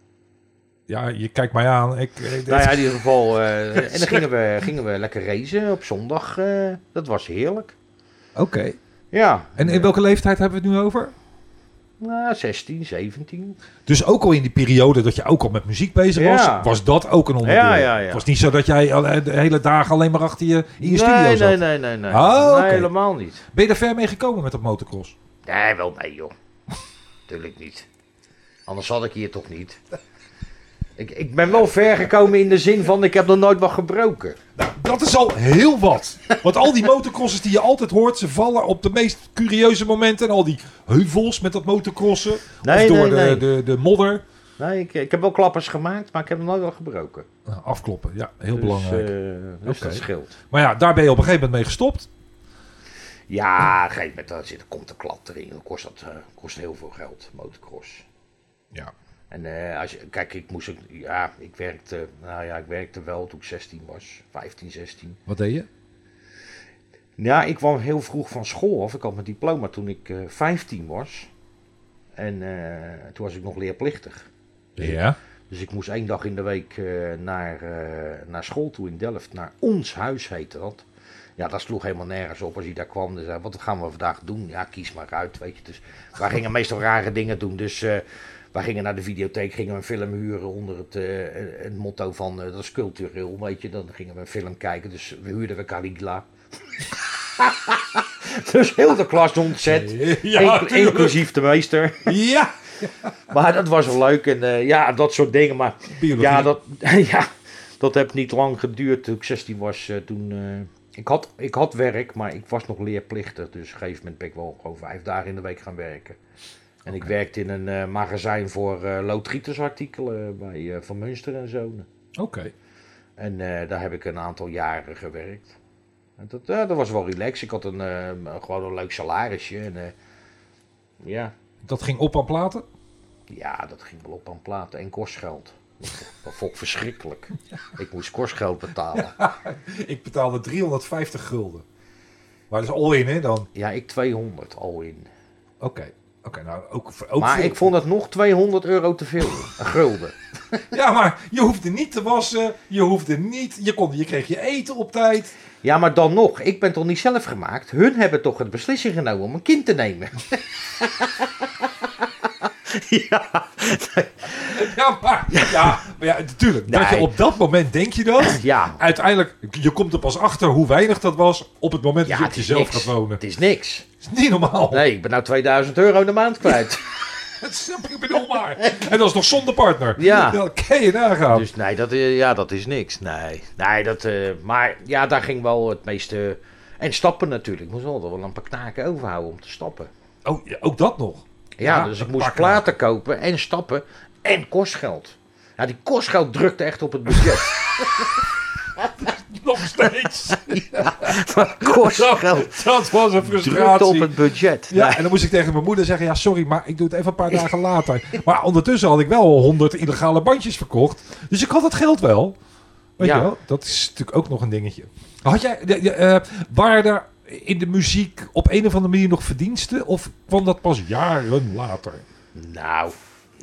[SPEAKER 2] Ja, je kijkt mij aan. Ik, eh, ik-
[SPEAKER 3] Nou ja, in ieder geval. eh, en dan gingen we, gingen we lekker racen op zondag. eh, dat was heerlijk.
[SPEAKER 2] Oké.
[SPEAKER 3] Ja,
[SPEAKER 2] En in welke leeftijd hebben we het nu over?
[SPEAKER 3] nou, 16, 17.
[SPEAKER 2] Dus ook al in die periode dat je ook al met muziek bezig was,
[SPEAKER 3] Ja.
[SPEAKER 2] was dat ook een onderdeel.
[SPEAKER 3] Ja, ja, ja.
[SPEAKER 2] Het was niet zo dat jij al- eh, de hele dagen alleen maar achter je in je studio
[SPEAKER 3] nee,
[SPEAKER 2] zat.
[SPEAKER 3] nee, nee, nee, nee.
[SPEAKER 2] Ah, oké.
[SPEAKER 3] Nee, helemaal niet.
[SPEAKER 2] Ben je er ver mee gekomen met dat motocross?
[SPEAKER 3] Nee, wel nee, joh. Tuurlijk niet. Anders had ik hier toch niet. Ik, ik ben wel ver gekomen in de zin van ik heb nog nooit wat gebroken.
[SPEAKER 2] Nou, dat is al heel wat. Want al die motocrossers die je altijd hoort, ze vallen op de meest curieuze momenten. En al die heuvels met dat motocrossen.
[SPEAKER 3] Nee,
[SPEAKER 2] of door
[SPEAKER 3] nee,
[SPEAKER 2] de,
[SPEAKER 3] nee.
[SPEAKER 2] De, de modder.
[SPEAKER 3] Nee, ik, ik heb wel klappers gemaakt, maar ik heb nog nooit wat gebroken.
[SPEAKER 2] Nou, afkloppen, ja, heel
[SPEAKER 3] Dus,
[SPEAKER 2] belangrijk.
[SPEAKER 3] eh, dus
[SPEAKER 2] Oké.
[SPEAKER 3] dat scheelt.
[SPEAKER 2] Maar ja, daar ben je op een gegeven moment mee gestopt.
[SPEAKER 3] Ja, op een gegeven moment daar zit, komt de klap erin. Dan kost dat eh, kost heel veel geld, motocross.
[SPEAKER 2] Ja.
[SPEAKER 3] En eh, als je, kijk, ik moest ook, ja, ik werkte, nou ja, ik werkte wel toen ik 16 was, 15, 16.
[SPEAKER 2] Wat deed je?
[SPEAKER 3] Ja, ik kwam heel vroeg van school af. Ik had mijn diploma toen ik eh 15 was. En eh, toen was ik nog leerplichtig.
[SPEAKER 2] Ja.
[SPEAKER 3] Dus ik moest één dag in de week eh, naar, eh, naar school toe in Delft. Naar ons huis heette dat. Ja, dat sloeg helemaal nergens op als hij daar kwam. Dus zei, wat gaan we vandaag doen? Ja, kies maar uit, weet je. Dus wij gingen meestal rare dingen doen. Dus eh, wij gingen naar de videotheek, gingen we een film huren onder het, eh, het motto van... eh, dat is cultureel, weet je. Dan gingen we een film kijken, dus we huurden we Caligula. dus heel de klas ontzet.
[SPEAKER 2] Ja,
[SPEAKER 3] Inclu-
[SPEAKER 2] tuurlijk.
[SPEAKER 3] inclusief de meester.
[SPEAKER 2] Ja.
[SPEAKER 3] Maar dat was wel leuk en eh, ja, dat soort dingen. Maar
[SPEAKER 2] Biologie.
[SPEAKER 3] ja, dat, ja, dat heb niet lang geduurd. Toen ik 16 was, eh, toen... eh, ik, had, ik had werk, maar ik was nog leerplichtig. Dus op een gegeven moment ben ik wel gewoon vijf dagen in de week gaan werken. En ik werkte in een eh, magazijn voor eh loodgietersartikelen bij eh, Van Munster en Zonen.
[SPEAKER 2] Oké.
[SPEAKER 3] En eh, daar heb ik een aantal jaren gewerkt. En dat, eh, dat was wel relaxed. Ik had een, eh, gewoon een leuk salarisje. En, eh, ja,
[SPEAKER 2] Dat ging op aan platen.
[SPEAKER 3] ja, dat ging wel op aan platen en kostgeld. Dat vond ik verschrikkelijk. Ik moest kostgeld betalen.
[SPEAKER 2] Ik betaalde 350 gulden. Maar dat is all in, hè, dan?
[SPEAKER 3] Ja, ik 200 al in.
[SPEAKER 2] Oké. Oké, nou, ook, voor- ook
[SPEAKER 3] Maar
[SPEAKER 2] voor-
[SPEAKER 3] ik vond het nog 200 euro te veel. Een gulden.
[SPEAKER 2] Ja, maar je hoefde niet te wassen. Je hoefde niet... Je, kon, je kreeg je eten op tijd.
[SPEAKER 3] Ja, maar dan nog. Ik ben toch niet zelf gemaakt? Hun hebben toch de beslissing genomen om een kind te nemen? ja.
[SPEAKER 2] Ja, maar... Ja, maar ja natuurlijk. Dat je
[SPEAKER 3] Nee.
[SPEAKER 2] op dat moment denk je dat.
[SPEAKER 3] Ja.
[SPEAKER 2] Uiteindelijk, je komt er pas achter hoe weinig dat was... op het moment dat
[SPEAKER 3] Ja,
[SPEAKER 2] je op
[SPEAKER 3] het is
[SPEAKER 2] jezelf
[SPEAKER 3] niks.
[SPEAKER 2] gaat wonen.
[SPEAKER 3] Het is niks.
[SPEAKER 2] Dat is niet normaal.
[SPEAKER 3] Nee, ik ben nou 2000 euro de maand kwijt.
[SPEAKER 2] Dat snap ik, ik bedoel maar. En dat is nog zonder partner.
[SPEAKER 3] Ja.
[SPEAKER 2] Dat kan je nagaan.
[SPEAKER 3] Dus nee, dat, eh, ja, dat is niks. Nee, nee dat, eh, maar ja, daar ging wel het meeste... En stappen natuurlijk. Ik moest altijd wel een paar knaken overhouden om te stappen.
[SPEAKER 2] Oh, ja, ook dat nog.
[SPEAKER 3] Ja,
[SPEAKER 2] Ja,
[SPEAKER 3] dus ik
[SPEAKER 2] een
[SPEAKER 3] moest
[SPEAKER 2] paar
[SPEAKER 3] platen kopen en stappen en kostgeld. Ja, die kostgeld drukte echt op het budget.
[SPEAKER 2] Nog steeds.
[SPEAKER 3] Wat kost geld?
[SPEAKER 2] Dat was een
[SPEAKER 3] Drukte op
[SPEAKER 2] frustratie.
[SPEAKER 3] het budget.
[SPEAKER 2] Ja,
[SPEAKER 3] Nee.
[SPEAKER 2] en dan moest ik tegen mijn moeder zeggen: Ja, sorry, maar ik doe het even een paar dagen later. Maar ondertussen had ik wel 100 illegale bandjes verkocht. Dus ik had dat geld wel. Weet
[SPEAKER 3] Ja.
[SPEAKER 2] je wel, dat is natuurlijk ook nog een dingetje. Had jij, de- de, eh, waren er in de muziek op een of andere manier nog verdiensten? Of kwam dat pas jaren later?
[SPEAKER 3] Nou,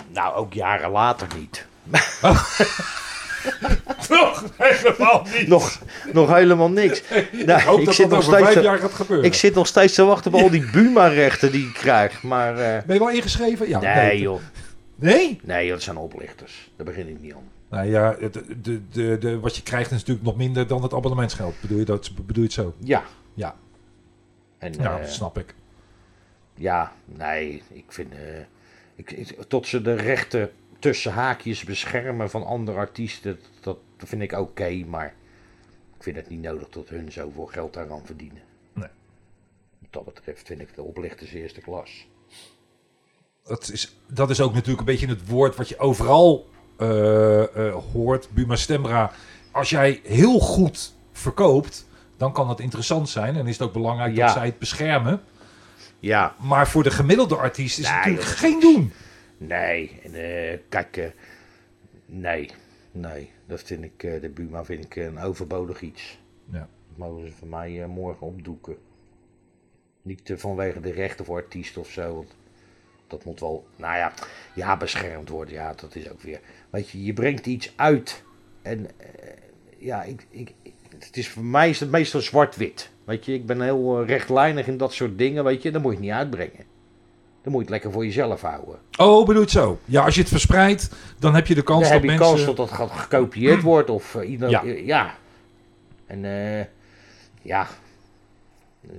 [SPEAKER 3] nou, ook jaren later niet.
[SPEAKER 2] Toch? Helemaal niet.
[SPEAKER 3] Nog, nog helemaal niks. Nou,
[SPEAKER 2] ik hoop dat dat over vijf
[SPEAKER 3] te-
[SPEAKER 2] jaar gaat gebeuren.
[SPEAKER 3] eh, ik zit nog steeds te wachten op al die Buma-rechten die ik krijg. Maar eh,
[SPEAKER 2] Ben je wel ingeschreven? Ja.
[SPEAKER 3] nee joh,
[SPEAKER 2] Nee?
[SPEAKER 3] nee joh, dat zijn oplichters. Daar begin ik niet aan.
[SPEAKER 2] Nou ja, het- de, de, de, wat je krijgt is natuurlijk nog minder dan het abonnementsgeld. Bedoel je, dat, bedoel je het zo?
[SPEAKER 3] Ja.
[SPEAKER 2] Ja.
[SPEAKER 3] En,
[SPEAKER 2] Ja,
[SPEAKER 3] eh,
[SPEAKER 2] dat snap ik.
[SPEAKER 3] Ja, nee, ik vind. eh, ik, ik- tot ze de rechten tussen haakjes beschermen van andere artiesten, dat, dat vind ik oké, maar ik vind het niet nodig dat hun zoveel geld daaraan verdienen.
[SPEAKER 2] Nee.
[SPEAKER 3] Wat dat betreft vind ik de oplichters eerste klas.
[SPEAKER 2] Dat is, dat is ook natuurlijk een beetje het woord wat je overal eh, eh, hoort. Buma Stemra. Als jij heel goed verkoopt, dan kan dat interessant zijn. En is het ook belangrijk
[SPEAKER 3] Ja.
[SPEAKER 2] dat zij het beschermen.
[SPEAKER 3] Ja,
[SPEAKER 2] Maar voor de gemiddelde artiest is het
[SPEAKER 3] Nee,
[SPEAKER 2] natuurlijk
[SPEAKER 3] joh.
[SPEAKER 2] geen doen.
[SPEAKER 3] nee, en, eh, kijk, eh, nee, nee, dat vind ik, eh, de Buma vind ik een overbodig iets.
[SPEAKER 2] Ja.
[SPEAKER 3] Dat mogen ze van mij eh, morgen opdoeken. Niet eh, vanwege de rechten voor artiest of zo. Want dat moet wel, nou ja, ja, beschermd worden. Ja, dat is ook weer. Weet je, je brengt iets uit. En eh, ja, ik, ik, ik- het is, voor mij is het meestal zwart-wit. Weet je, ik ben heel eh, rechtlijnig in dat soort dingen. Weet je, dan moet je het niet uitbrengen. Dan moet je het lekker voor jezelf houden.
[SPEAKER 2] Oh, bedoel je het zo? Ja, als je het verspreidt, dan heb je de kans
[SPEAKER 3] Dan
[SPEAKER 2] dat
[SPEAKER 3] heb je
[SPEAKER 2] mensen...
[SPEAKER 3] kans dat dat gaat gekopieerd wordt of eh, ieder.
[SPEAKER 2] Ja.
[SPEAKER 3] Ja. ja. En eh, ja. Eh,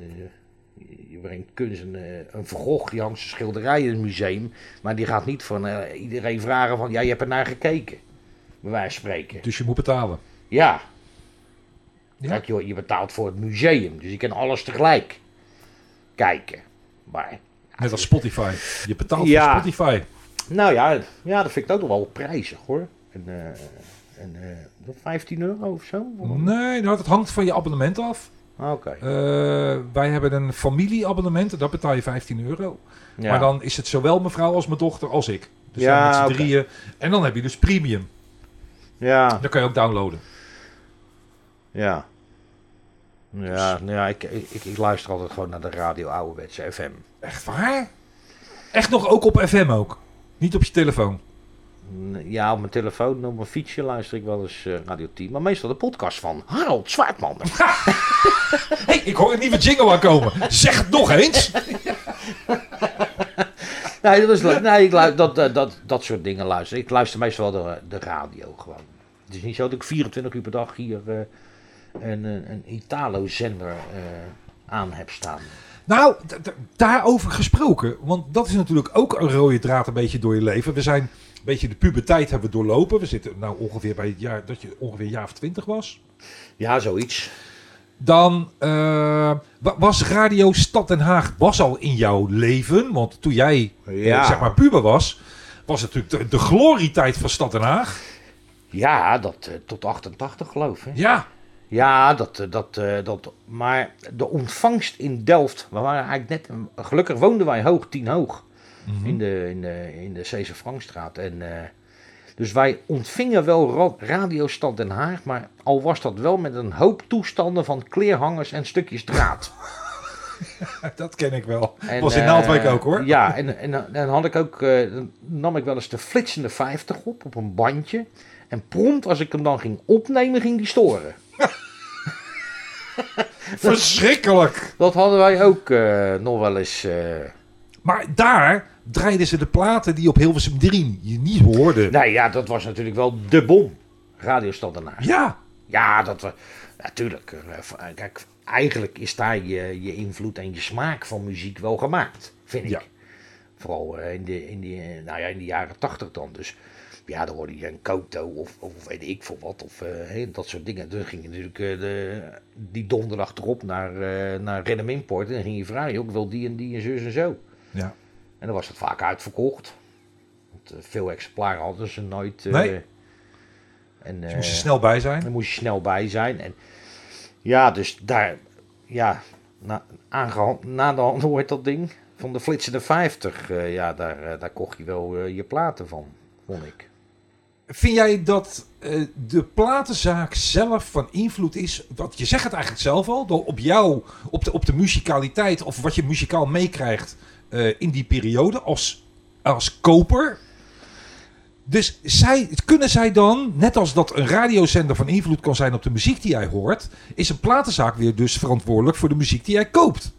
[SPEAKER 3] je brengt kunst een, eh, een Van Gogh, die hangt zijn schilderij in het museum. Maar die gaat niet van eh, iedereen vragen van, ja, je hebt er naar gekeken. Bij wijze van spreken.
[SPEAKER 2] Dus je moet betalen.
[SPEAKER 3] Ja.
[SPEAKER 2] Ja.
[SPEAKER 3] Kijk, joh, je betaalt voor het museum. Dus je kan alles tegelijk kijken. Maar,
[SPEAKER 2] Net als Spotify. Je betaalt
[SPEAKER 3] Ja.
[SPEAKER 2] voor Spotify.
[SPEAKER 3] nou ja, ja, dat vind ik ook nog wel prijzig hoor. En, eh, en eh, 15 euro of zo?
[SPEAKER 2] Nee, nou, dat hangt van je abonnement af.
[SPEAKER 3] Ah, Oké.
[SPEAKER 2] Eh, wij hebben een familieabonnement en dat betaal je 15 euro.
[SPEAKER 3] Ja.
[SPEAKER 2] Maar dan is het zowel mevrouw als mijn dochter als ik. Dus
[SPEAKER 3] Ja,
[SPEAKER 2] ja, met z'n
[SPEAKER 3] oké.
[SPEAKER 2] drieën. En dan heb je dus premium.
[SPEAKER 3] Ja,
[SPEAKER 2] Dan kan je ook downloaden.
[SPEAKER 3] ja. Ja, nou ja ik, ik, ik- ik luister altijd gewoon naar de radio ouderwetse FM.
[SPEAKER 2] Echt waar? Echt nog ook op FM ook. Niet op je telefoon.
[SPEAKER 3] Mm, Ja, op mijn telefoon, op mijn fietsje luister ik wel eens eh, Radio 10. Maar meestal de podcast van Harold Zwaardman.
[SPEAKER 2] hey, ik hoor een nieuwe jingle aankomen. Zeg het nog eens.
[SPEAKER 3] nee, dat, is, leuk. nee ik lu- dat, dat, dat, dat soort dingen luister ik. Ik luister meestal wel de, de radio gewoon. Het is niet zo dat ik 24 uur per dag hier eh, een, een, een Italo-zender eh, aan heb staan.
[SPEAKER 2] Nou, d- d- daarover gesproken. Want dat is natuurlijk ook een rode draad een beetje door je leven. We zijn een beetje de puberteit hebben we doorlopen. We zitten nou ongeveer bij het jaar dat je ongeveer een jaar of twintig was.
[SPEAKER 3] Ja, zoiets.
[SPEAKER 2] Dan eh, wa- was Radio Stad Den Haag was al in jouw leven. Want toen jij eh,
[SPEAKER 3] Ja.
[SPEAKER 2] zeg maar puber was, was het natuurlijk de, de glorietijd van Stad Den Haag.
[SPEAKER 3] Ja, dat eh, tot 88 geloof ik.
[SPEAKER 2] Ja.
[SPEAKER 3] Ja, dat, eh, dat, eh, dat, maar de ontvangst in Delft, we waren eigenlijk net, gelukkig woonden wij hoog, tien hoog,
[SPEAKER 2] Mhm.
[SPEAKER 3] in de, in de, in de Cesar Frankstraat. En, eh, dus wij ontvingen wel ra- Radio Stad Den Haag, maar al was dat wel met een hoop toestanden van kleerhangers en stukjes draad.
[SPEAKER 2] Dat ken ik wel.
[SPEAKER 3] En,
[SPEAKER 2] was in
[SPEAKER 3] eh,
[SPEAKER 2] Naaldwijk ook hoor.
[SPEAKER 3] Ja, en, en, en had ik ook, eh, dan nam ik wel eens de flitsende 50 op, op een bandje. En prompt als ik hem dan ging opnemen, ging die storen.
[SPEAKER 2] Verschrikkelijk.
[SPEAKER 3] Dat hadden wij ook eh, nog wel eens... eh,
[SPEAKER 2] Maar daar draaiden ze de platen die op Hilversum 3 je niet hoorde.
[SPEAKER 3] Nou ja, dat was natuurlijk wel de bom. Radio Stad Den Haag.
[SPEAKER 2] Ja.
[SPEAKER 3] Ja, dat was. Natuurlijk. eh, v- eh, Kijk, eigenlijk is daar je, je invloed en je smaak van muziek wel gemaakt, vind ik.
[SPEAKER 2] Ja.
[SPEAKER 3] Vooral eh, in de, in, die, eh, nou ja, in de jaren tachtig dan. Dus ja, dan hoorde je een Koto of, of weet ik veel wat. Of eh, hè, dat soort dingen. Dan ging je natuurlijk eh, de, die donderdag erop naar, eh, naar Rennem Import. En dan ging je vragen, joh, ik wil die en die en zus en zo.
[SPEAKER 2] ja.
[SPEAKER 3] En dan was het vaak uitverkocht. Want eh, veel exemplaren hadden ze nooit. eh,
[SPEAKER 2] Nee.
[SPEAKER 3] En,
[SPEAKER 2] Ze moesten
[SPEAKER 3] eh,
[SPEAKER 2] snel bij zijn.
[SPEAKER 3] Daar moest je snel bij zijn. En Ja, dus daar, ja, na, aangeha- na de hand hoort dat ding van de flitsende 50. eh, ja, daar, eh, daar kocht je wel eh, je platen van, vond ik.
[SPEAKER 2] Vind jij dat eh, de platenzaak zelf van invloed is? Want je zegt het eigenlijk zelf al, door op jou, op de, op de muzikaliteit of wat je muzikaal meekrijgt eh, in die periode als, als koper. Dus zij, kunnen zij dan, net als dat een radiozender van invloed kan zijn op de muziek die jij hoort, is een platenzaak weer dus verantwoordelijk voor de muziek die jij koopt?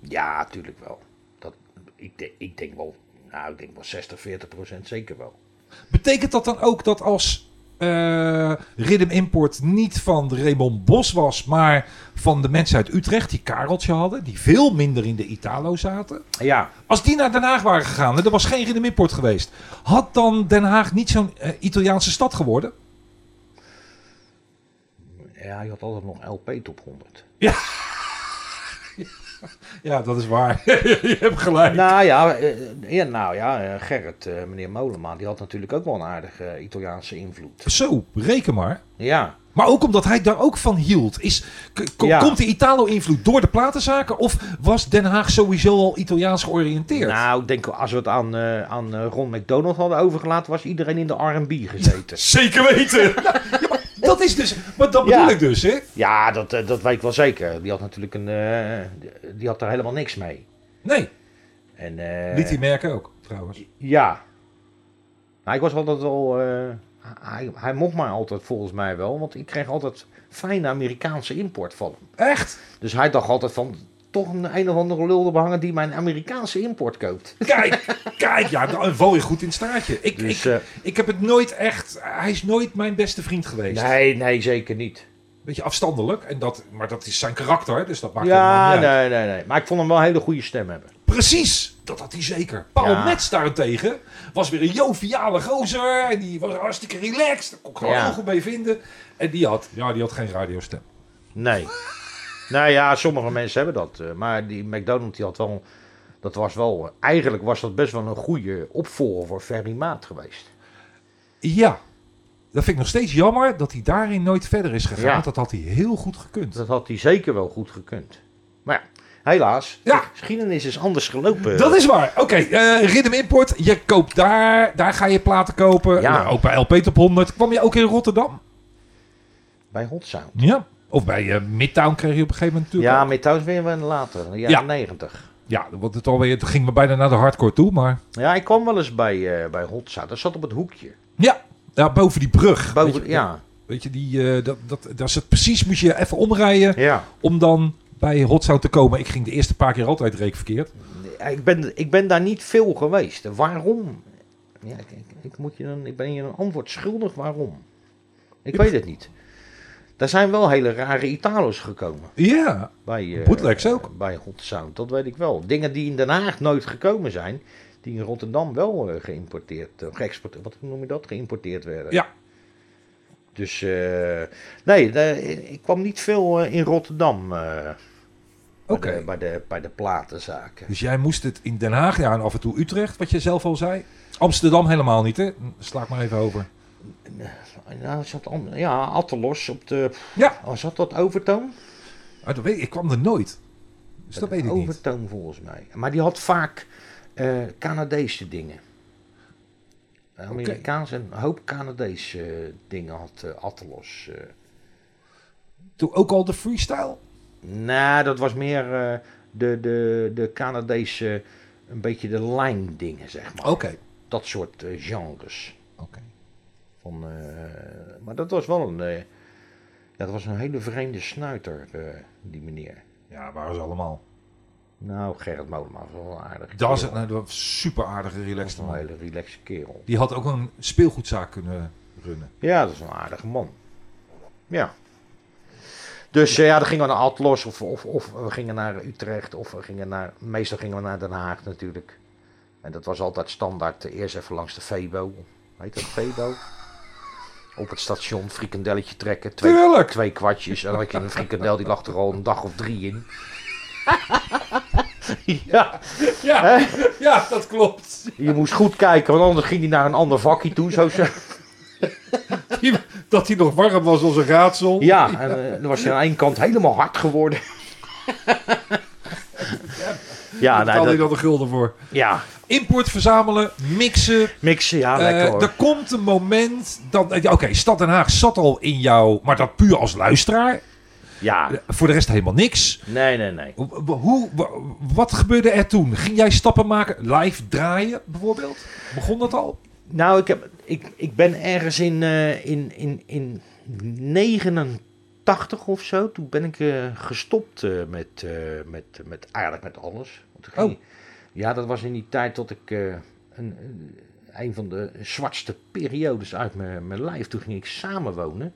[SPEAKER 3] Ja, natuurlijk wel. Dat, ik, de- ik denk wel, nou, ik denk wel 60, 40 procent zeker wel.
[SPEAKER 2] Betekent dat dan ook dat als eh Rhythm Import niet van Raymond Bos was, maar van de mensen uit Utrecht die Kareltje hadden, die veel minder in de Italo zaten.
[SPEAKER 3] Ja,
[SPEAKER 2] Als die naar Den Haag waren gegaan en er was geen Rhythm Import geweest, had dan Den Haag niet zo'n eh, Italiaanse stad geworden?
[SPEAKER 3] ja, je had altijd nog LP top 100.
[SPEAKER 2] Ja, dat is waar. Je hebt gelijk.
[SPEAKER 3] Nou ja, eh, ja, nou ja eh, Gerrit, eh, meneer Molenma, die had natuurlijk ook wel een aardige eh, Italiaanse invloed.
[SPEAKER 2] Zo, reken maar.
[SPEAKER 3] Ja,
[SPEAKER 2] Maar ook omdat hij daar ook van hield. Is, k- k-
[SPEAKER 3] Ja.
[SPEAKER 2] Komt de Italo-invloed door de platenzaken of was Den Haag sowieso al Italiaans georiënteerd?
[SPEAKER 3] nou, ik denk als we het aan, eh, aan eh, Ron McDonald hadden overgelaten, was iedereen in de R&B gezeten.
[SPEAKER 2] Zeker weten. dat is dus. Maar dat
[SPEAKER 3] Ja.
[SPEAKER 2] bedoel ik dus, hè?
[SPEAKER 3] Ja, dat, eh, dat weet ik wel zeker. Die had natuurlijk een, eh, die had daar helemaal niks mee.
[SPEAKER 2] Nee,
[SPEAKER 3] En, eh,
[SPEAKER 2] liet hij merken ook, trouwens.
[SPEAKER 3] Ja. Nou, ik was altijd wel. eh, hij, hij mocht mij altijd volgens mij wel, want ik kreeg altijd fijne Amerikaanse import van hem.
[SPEAKER 2] Echt?
[SPEAKER 3] Dus hij dacht altijd van. Toch een, een of andere lul te behangen die mijn Amerikaanse import koopt.
[SPEAKER 2] Kijk, kijk, ja, dan val je goed in het straatje. Ik,
[SPEAKER 3] Dus,
[SPEAKER 2] ik,
[SPEAKER 3] eh,
[SPEAKER 2] ik heb het nooit echt. Hij is nooit mijn beste vriend geweest.
[SPEAKER 3] eh, Nee, nee, zeker niet.
[SPEAKER 2] Beetje afstandelijk, en dat, maar dat is zijn karakter, dus dat maakt helemaal
[SPEAKER 3] Ja,
[SPEAKER 2] niet uit.
[SPEAKER 3] nee, nee, nee. Maar ik vond hem wel een hele goede stem hebben.
[SPEAKER 2] Precies, dat had hij zeker. Paul
[SPEAKER 3] Ja.
[SPEAKER 2] Metz daarentegen was weer een joviale gozer. En die was hartstikke relaxed. Daar kon ik gewoon
[SPEAKER 3] Ja.
[SPEAKER 2] heel goed mee vinden. En die had, ja, die had geen radiostem.
[SPEAKER 3] Nee. nou ja, sommige mensen hebben dat. eh, Maar die McDonald die had wel. Dat was wel. eh, Eigenlijk was dat best wel een goede opvolger voor Ferry Maat geweest.
[SPEAKER 2] Ja. Dat vind ik nog steeds jammer dat hij daarin nooit verder is gegaan.
[SPEAKER 3] Ja.
[SPEAKER 2] Dat had hij heel goed gekund.
[SPEAKER 3] Dat had hij zeker wel goed gekund. Maar ja, helaas.
[SPEAKER 2] Ja.
[SPEAKER 3] de geschiedenis is anders gelopen.
[SPEAKER 2] Dat is waar. Oké, eh, Rhythm Import. Je koopt daar. Daar ga je platen kopen.
[SPEAKER 3] Ja.
[SPEAKER 2] Nou, ook bij LP Top 100. Kwam je ook in Rotterdam?
[SPEAKER 3] Bij Hot Sound.
[SPEAKER 2] Ja. Of bij eh, Midtown kreeg je op een gegeven moment natuurlijk.
[SPEAKER 3] Ja,
[SPEAKER 2] ook.
[SPEAKER 3] met thuis weer een later. In de
[SPEAKER 2] Ja.
[SPEAKER 3] jaren negentig.
[SPEAKER 2] ja want het, alweer, het ging me bijna naar de hardcore toe. Maar
[SPEAKER 3] Ja, ik kwam wel eens bij, eh, bij Hot Sound. Dat zat op het hoekje.
[SPEAKER 2] ja, ja boven die brug.
[SPEAKER 3] Boven,
[SPEAKER 2] weet je,
[SPEAKER 3] ja,
[SPEAKER 2] Weet je, die, eh, dat, dat, daar zit precies, moest je even omrijden
[SPEAKER 3] ja.
[SPEAKER 2] om dan bij Hot Sound te komen. Ik ging de eerste paar keer altijd reekverkeerd.
[SPEAKER 3] Ik, ben, ik ben daar niet veel geweest. Waarom? Ja, ik, ik, ik moet je een, ik ben je een antwoord schuldig waarom. Ik weet het niet. Er zijn wel hele rare Italo's gekomen.
[SPEAKER 2] Ja,
[SPEAKER 3] Bij, eh,
[SPEAKER 2] Bootlegs ook.
[SPEAKER 3] eh, Bij Hot Sound, dat weet ik wel. Dingen die in Den Haag nooit gekomen zijn, die in Rotterdam wel eh, geïmporteerd, eh, geëxporteerd, wat noem je dat, geïmporteerd werden.
[SPEAKER 2] Ja.
[SPEAKER 3] Dus, eh, nee, daar- ik kwam niet veel eh, in Rotterdam eh, bij,
[SPEAKER 2] Oké.
[SPEAKER 3] de, bij, de, bij de platenzaken.
[SPEAKER 2] Dus jij moest het in Den Haag, ja, en af en toe Utrecht, wat je zelf al zei. Amsterdam helemaal niet, hè? Sla ik maar even over.
[SPEAKER 3] Nou, zat an- ja, Attelos op de...
[SPEAKER 2] Ja.
[SPEAKER 3] Oh, zat dat Overtoom?
[SPEAKER 2] Ah, dat weet ik, ik kwam er nooit. Dus dat weet ik niet.
[SPEAKER 3] Overtoom volgens mij. Maar die had vaak eh, Canadese dingen. Amerikaanse, een hoop Canadese eh, dingen had eh, Attelos. eh.
[SPEAKER 2] Toen ook al de freestyle.
[SPEAKER 3] nou, dat was meer eh, de, de, de Canadese, een beetje de line dingen, zeg maar.
[SPEAKER 2] Oké.
[SPEAKER 3] Dat soort eh, genres.
[SPEAKER 2] Oké.
[SPEAKER 3] Van, eh, maar dat was wel een... eh, ja, dat was een hele vreemde snuiter, eh, die meneer.
[SPEAKER 2] Ja, waren ze allemaal.
[SPEAKER 3] Nou, Gerrit Molenma was wel een aardige
[SPEAKER 2] Dat was,
[SPEAKER 3] kerel.
[SPEAKER 2] een, nou, dat was een super aardige,
[SPEAKER 3] Dat
[SPEAKER 2] relaxed
[SPEAKER 3] is een
[SPEAKER 2] man.
[SPEAKER 3] hele relaxe kerel.
[SPEAKER 2] Die had ook een speelgoedzaak kunnen runnen.
[SPEAKER 3] Ja, dat is een aardige man. Ja. Dus eh, ja, dan gingen we naar Atlas of, of, of we gingen naar Utrecht of we gingen naar... Meestal gingen we naar Den Haag natuurlijk. En dat was altijd standaard. eh, Eerst even langs de Febo. Heet dat Febo? Op het station frikandelletje trekken. Twee,
[SPEAKER 2] Tuurlijk!
[SPEAKER 3] twee kwartjes. En dan had je een frikandel, die lag er al een dag of drie in. ja.
[SPEAKER 2] Ja, ja, dat klopt.
[SPEAKER 3] Je moest goed kijken, want anders ging hij naar een ander vakje toe. Zo, zo.
[SPEAKER 2] Die, dat hij nog warm was als een raadsel.
[SPEAKER 3] Ja, en eh, dan was hij aan één kant helemaal hard geworden. ja,
[SPEAKER 2] Daar
[SPEAKER 3] nou,
[SPEAKER 2] betaalde hij
[SPEAKER 3] dat,
[SPEAKER 2] dan de gulden voor.
[SPEAKER 3] ja,
[SPEAKER 2] Import verzamelen, mixen.
[SPEAKER 3] mixen, ja, Ah, lekker
[SPEAKER 2] Eh,
[SPEAKER 3] hoor.
[SPEAKER 2] er komt een moment dat... ja, Oké, Stad Den Haag zat al in jou, maar dat puur als luisteraar. Eh,
[SPEAKER 3] Ja,
[SPEAKER 2] Voor de rest helemaal niks.
[SPEAKER 3] nee, nee, nee.
[SPEAKER 2] Hoe- Hoe, wa- wat gebeurde er toen? Ging jij stappen maken? Live draaien bijvoorbeeld? Begon dat al?
[SPEAKER 3] Nou, ik, heb, ik, ik ben ergens in, eh, in, in, in 89 of zo. Toen ben ik eh, gestopt eh, met, eh, met, met eigenlijk met alles. Want toen ging-
[SPEAKER 2] Oh.
[SPEAKER 3] Ja, dat was in die tijd dat ik eh, een, een- een van de zwartste periodes uit mijn, mijn lijf. Toen ging ik samenwonen.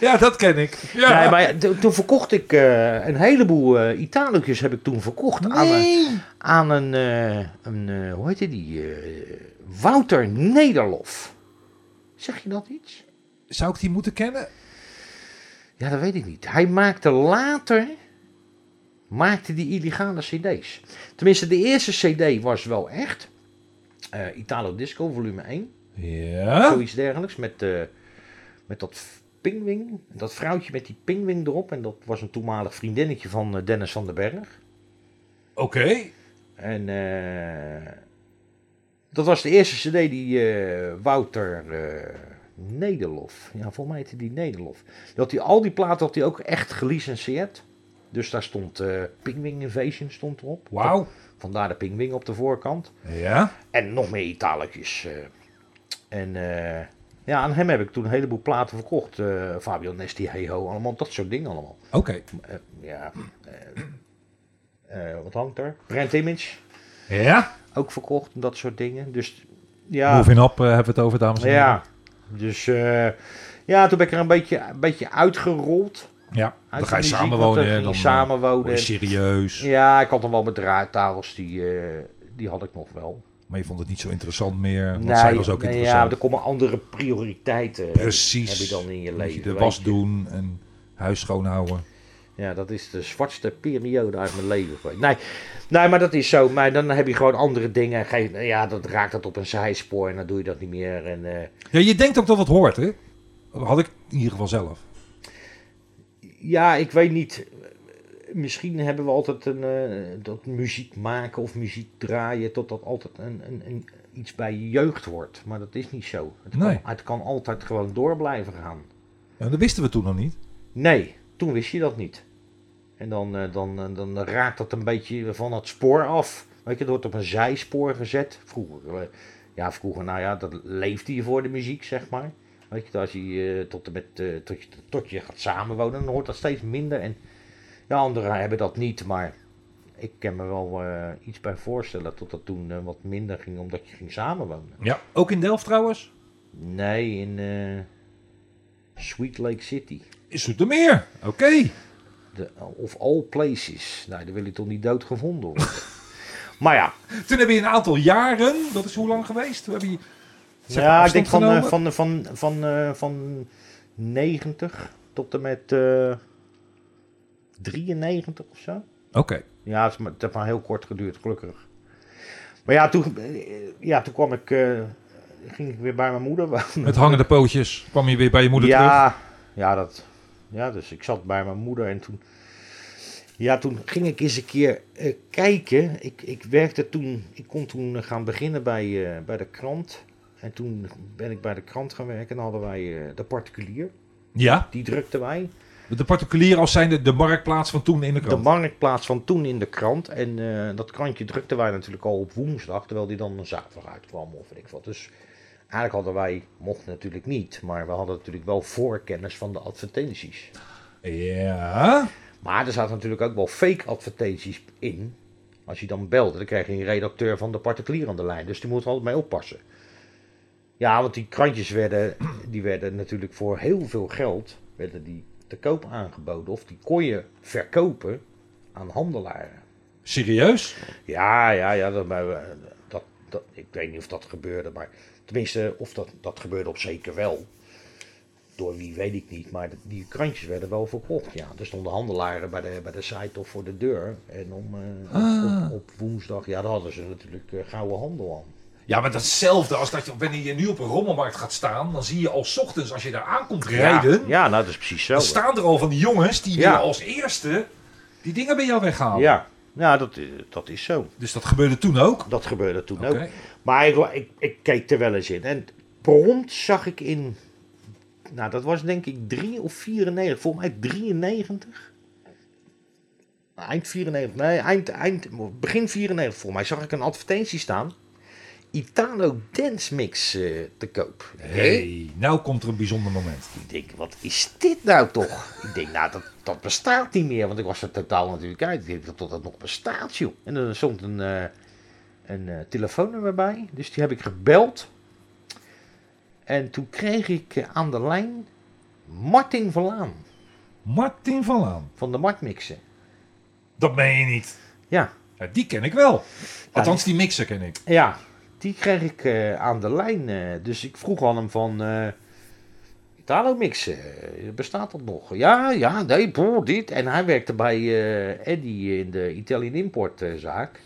[SPEAKER 2] Ja, dat ken ik. Ja.
[SPEAKER 3] Nee, maar to- toen verkocht ik eh, een heleboel eh Italiëtjes heb ik toen verkocht aan, een- aan een, eh, een eh, hoe heette die, eh, Wouter Nederlof. Zeg je dat iets?
[SPEAKER 2] Zou ik die moeten kennen?
[SPEAKER 3] Ja, dat weet ik niet. Hij maakte later, maakte die illegale cd's. Tenminste, de eerste cd was wel echt. Eh, Italo Disco, volume 1,
[SPEAKER 2] Ja.
[SPEAKER 3] zoiets dergelijks, met, eh, met dat pingwing, dat vrouwtje met die pingwing erop. En dat was een toenmalig vriendinnetje van eh, Dennis van den Berg.
[SPEAKER 2] Oké.
[SPEAKER 3] En eh, dat was de eerste cd die eh, Wouter eh Nederlof, ja volgens mij heette die Nederlof, dat hij al die platen had hij ook echt gelicenseerd. Dus daar stond eh Pingwing Invasion stond erop.
[SPEAKER 2] Wauw.
[SPEAKER 3] Vandaar de Pingwing op de voorkant.
[SPEAKER 2] Ja.
[SPEAKER 3] En nog meer Italiëtjes. eh. En eh, ja, aan hem heb ik toen een heleboel platen verkocht. eh Fabio Nesti, Heho, allemaal dat soort dingen allemaal.
[SPEAKER 2] Oké.
[SPEAKER 3] Eh, ja, eh, eh, wat hangt er? Brand Image
[SPEAKER 2] Ja.
[SPEAKER 3] ook verkocht en dat soort dingen. Dus ja,
[SPEAKER 2] Moving up eh, hebben we het over, dames en heren.
[SPEAKER 3] ja. Dus eh, ja, toen ben ik er een beetje, een beetje uitgerold.
[SPEAKER 2] ja.
[SPEAKER 3] Uit
[SPEAKER 2] Dan ga je
[SPEAKER 3] de muziek, want
[SPEAKER 2] samenwonen.
[SPEAKER 3] ging
[SPEAKER 2] en
[SPEAKER 3] je
[SPEAKER 2] Dan eh, word
[SPEAKER 3] samenwonen.
[SPEAKER 2] je serieus.
[SPEAKER 3] Ja, ik had nog wel mijn draaitafels, die, eh, die had ik nog wel.
[SPEAKER 2] Maar je vond het niet zo interessant meer. Want
[SPEAKER 3] Nee,
[SPEAKER 2] zij was ook
[SPEAKER 3] nee,
[SPEAKER 2] interessant.
[SPEAKER 3] Ja, er komen andere prioriteiten.
[SPEAKER 2] Precies.
[SPEAKER 3] Heb je dan in je
[SPEAKER 2] Moet
[SPEAKER 3] leven.
[SPEAKER 2] de
[SPEAKER 3] weet
[SPEAKER 2] was
[SPEAKER 3] je.
[SPEAKER 2] doen en huis schoonhouden.
[SPEAKER 3] Ja, dat is de zwartste periode uit mijn leven. geweest. Nee, nee, maar dat is zo. Maar dan heb je gewoon andere dingen. en Geen, ja, dat raakt dat op een zijspoor en dan doe je dat niet meer. En, eh,
[SPEAKER 2] Ja, je denkt ook dat het hoort, hè? Dat had ik in ieder geval zelf.
[SPEAKER 3] Ja, ik weet niet. Misschien hebben we altijd een. eh, dat muziek maken of muziek draaien. tot dat altijd een, een, een, iets bij je jeugd wordt. Maar dat is niet zo. Het,
[SPEAKER 2] Nee.
[SPEAKER 3] kan, het kan altijd gewoon door blijven gaan.
[SPEAKER 2] En Nou, dat wisten we toen nog niet.
[SPEAKER 3] Nee, toen wist je dat niet. En dan, eh, dan, eh, dan raakt dat een beetje van het spoor af. Weet je, het wordt op een zijspoor gezet. Vroeger, eh, ja, vroeger, nou ja, dat leefde je voor de muziek, zeg maar. Weet je, als je eh, tot, en met, eh, tot, je, tot je gaat samenwonen, dan hoort dat steeds minder. En ja, anderen hebben dat niet, maar ik kan me wel eh, iets bij voorstellen dat dat toen eh, wat minder ging, omdat je ging samenwonen.
[SPEAKER 2] Ja. Ook in Delft trouwens.
[SPEAKER 3] Nee, in eh, Sweet Lake City.
[SPEAKER 2] Is het er meer? Oké.
[SPEAKER 3] De, of all places. Nou, daar wil je toch niet dood gevonden worden. maar ja,
[SPEAKER 2] Toen hebben je een aantal jaren, dat is hoe lang geweest? We hebben je, zeg maar,
[SPEAKER 3] ja ik
[SPEAKER 2] afstand
[SPEAKER 3] denk van, eh,
[SPEAKER 2] genomen.
[SPEAKER 3] van, van, van, eh, van 90 tot en met eh, 93 of zo.
[SPEAKER 2] Oké.
[SPEAKER 3] Ja, het, is maar, het heeft maar heel kort geduurd, gelukkig. Maar ja, toen, eh, ja, toen kwam ik, eh, ging ik weer bij mijn moeder wonen.
[SPEAKER 2] Met hangende pootjes kwam je weer bij je moeder terug.
[SPEAKER 3] ja, Ja, dat, ja, dus ik zat bij mijn moeder en toen... Ja, toen ging ik eens een keer eh, kijken. Ik, ik werkte toen... Ik kon toen eh, gaan beginnen bij, eh, bij de krant. En toen ben ik bij de krant gaan werken. En dan hadden wij eh, de particulier.
[SPEAKER 2] Ja.
[SPEAKER 3] Die drukten wij.
[SPEAKER 2] De particulier als zijnde de marktplaats van toen in de
[SPEAKER 3] De
[SPEAKER 2] krant.
[SPEAKER 3] marktplaats van toen in de krant. En eh, dat krantje drukten wij natuurlijk al op woensdag. Terwijl die dan een zaterdag uitkwam of weet ik wat. Dus eigenlijk hadden wij... Mochten natuurlijk niet. Maar we hadden natuurlijk wel voorkennis van de advertenties.
[SPEAKER 2] ja.
[SPEAKER 3] Maar er zaten natuurlijk ook wel fake advertenties in. Als je dan belde, dan kreeg je een redacteur van de particulier aan de lijn. Dus die moet er altijd mee oppassen. Ja, want die krantjes werden, die werden natuurlijk voor heel veel geld werden die te koop aangeboden. Of die kon je verkopen aan handelaren.
[SPEAKER 2] Serieus?
[SPEAKER 3] Ja, ja, ja. Dat, maar, eh, dat, dat, ik weet niet of dat gebeurde, maar tenminste, of dat, dat gebeurde op zeker wel. Door wie weet ik niet, maar die krantjes werden wel verkocht. Ja. Er stonden handelaren bij de, bij de site of voor de deur. En om, eh, op, op woensdag, ja, daar hadden ze natuurlijk eh, gouden handel aan.
[SPEAKER 2] Ja, maar dat is hetzelfde als dat je, wanneer je nu op een rommelmarkt gaat staan, dan zie je al 's ochtends als je daar aankomt rijden,
[SPEAKER 3] Ja, ja, nou, dat is precies zo.
[SPEAKER 2] dan staan er al van die jongens die
[SPEAKER 3] Ja.
[SPEAKER 2] willen als eerste die dingen bij jou weghalen.
[SPEAKER 3] Ja, ja dat, eh, dat is zo.
[SPEAKER 2] Dus dat gebeurde toen ook.
[SPEAKER 3] Dat gebeurde toen
[SPEAKER 2] Oké.
[SPEAKER 3] ook. Maar ik, ik, ik keek er wel eens in. En prompt zag ik in. Nou, dat was denk ik 3 of 94. Volgens mij 93. Eind 94. Nee, eind, eind, begin 94. Volgens mij zag ik een advertentie staan. Italo Dance Mix eh, te koop.
[SPEAKER 2] hey, nou komt er een bijzonder moment.
[SPEAKER 3] Ik denk, wat is dit nou toch? Ik denk, nou, dat, dat bestaat niet meer. Want ik was er totaal natuurlijk uit. Ik denk dat dat, dat nog bestaat, joh. En er stond een, eh, een eh, telefoonnummer bij. Dus die heb ik gebeld. En toen kreeg ik eh, aan de lijn Martin Verlaan
[SPEAKER 2] Martin van Laan.
[SPEAKER 3] van de Marktmixen.
[SPEAKER 2] Dat meen je niet.
[SPEAKER 3] Ja,
[SPEAKER 2] Ja, die ken ik wel. Althans, die mixer ken ik.
[SPEAKER 3] ja. Die kreeg ik eh, aan de lijn. eh, dus ik vroeg aan hem van... eh Italo mixen, eh, bestaat dat nog? Ja, ja, nee, boh, dit. En hij werkte bij eh Eddy in de Italian Import eh, zaak.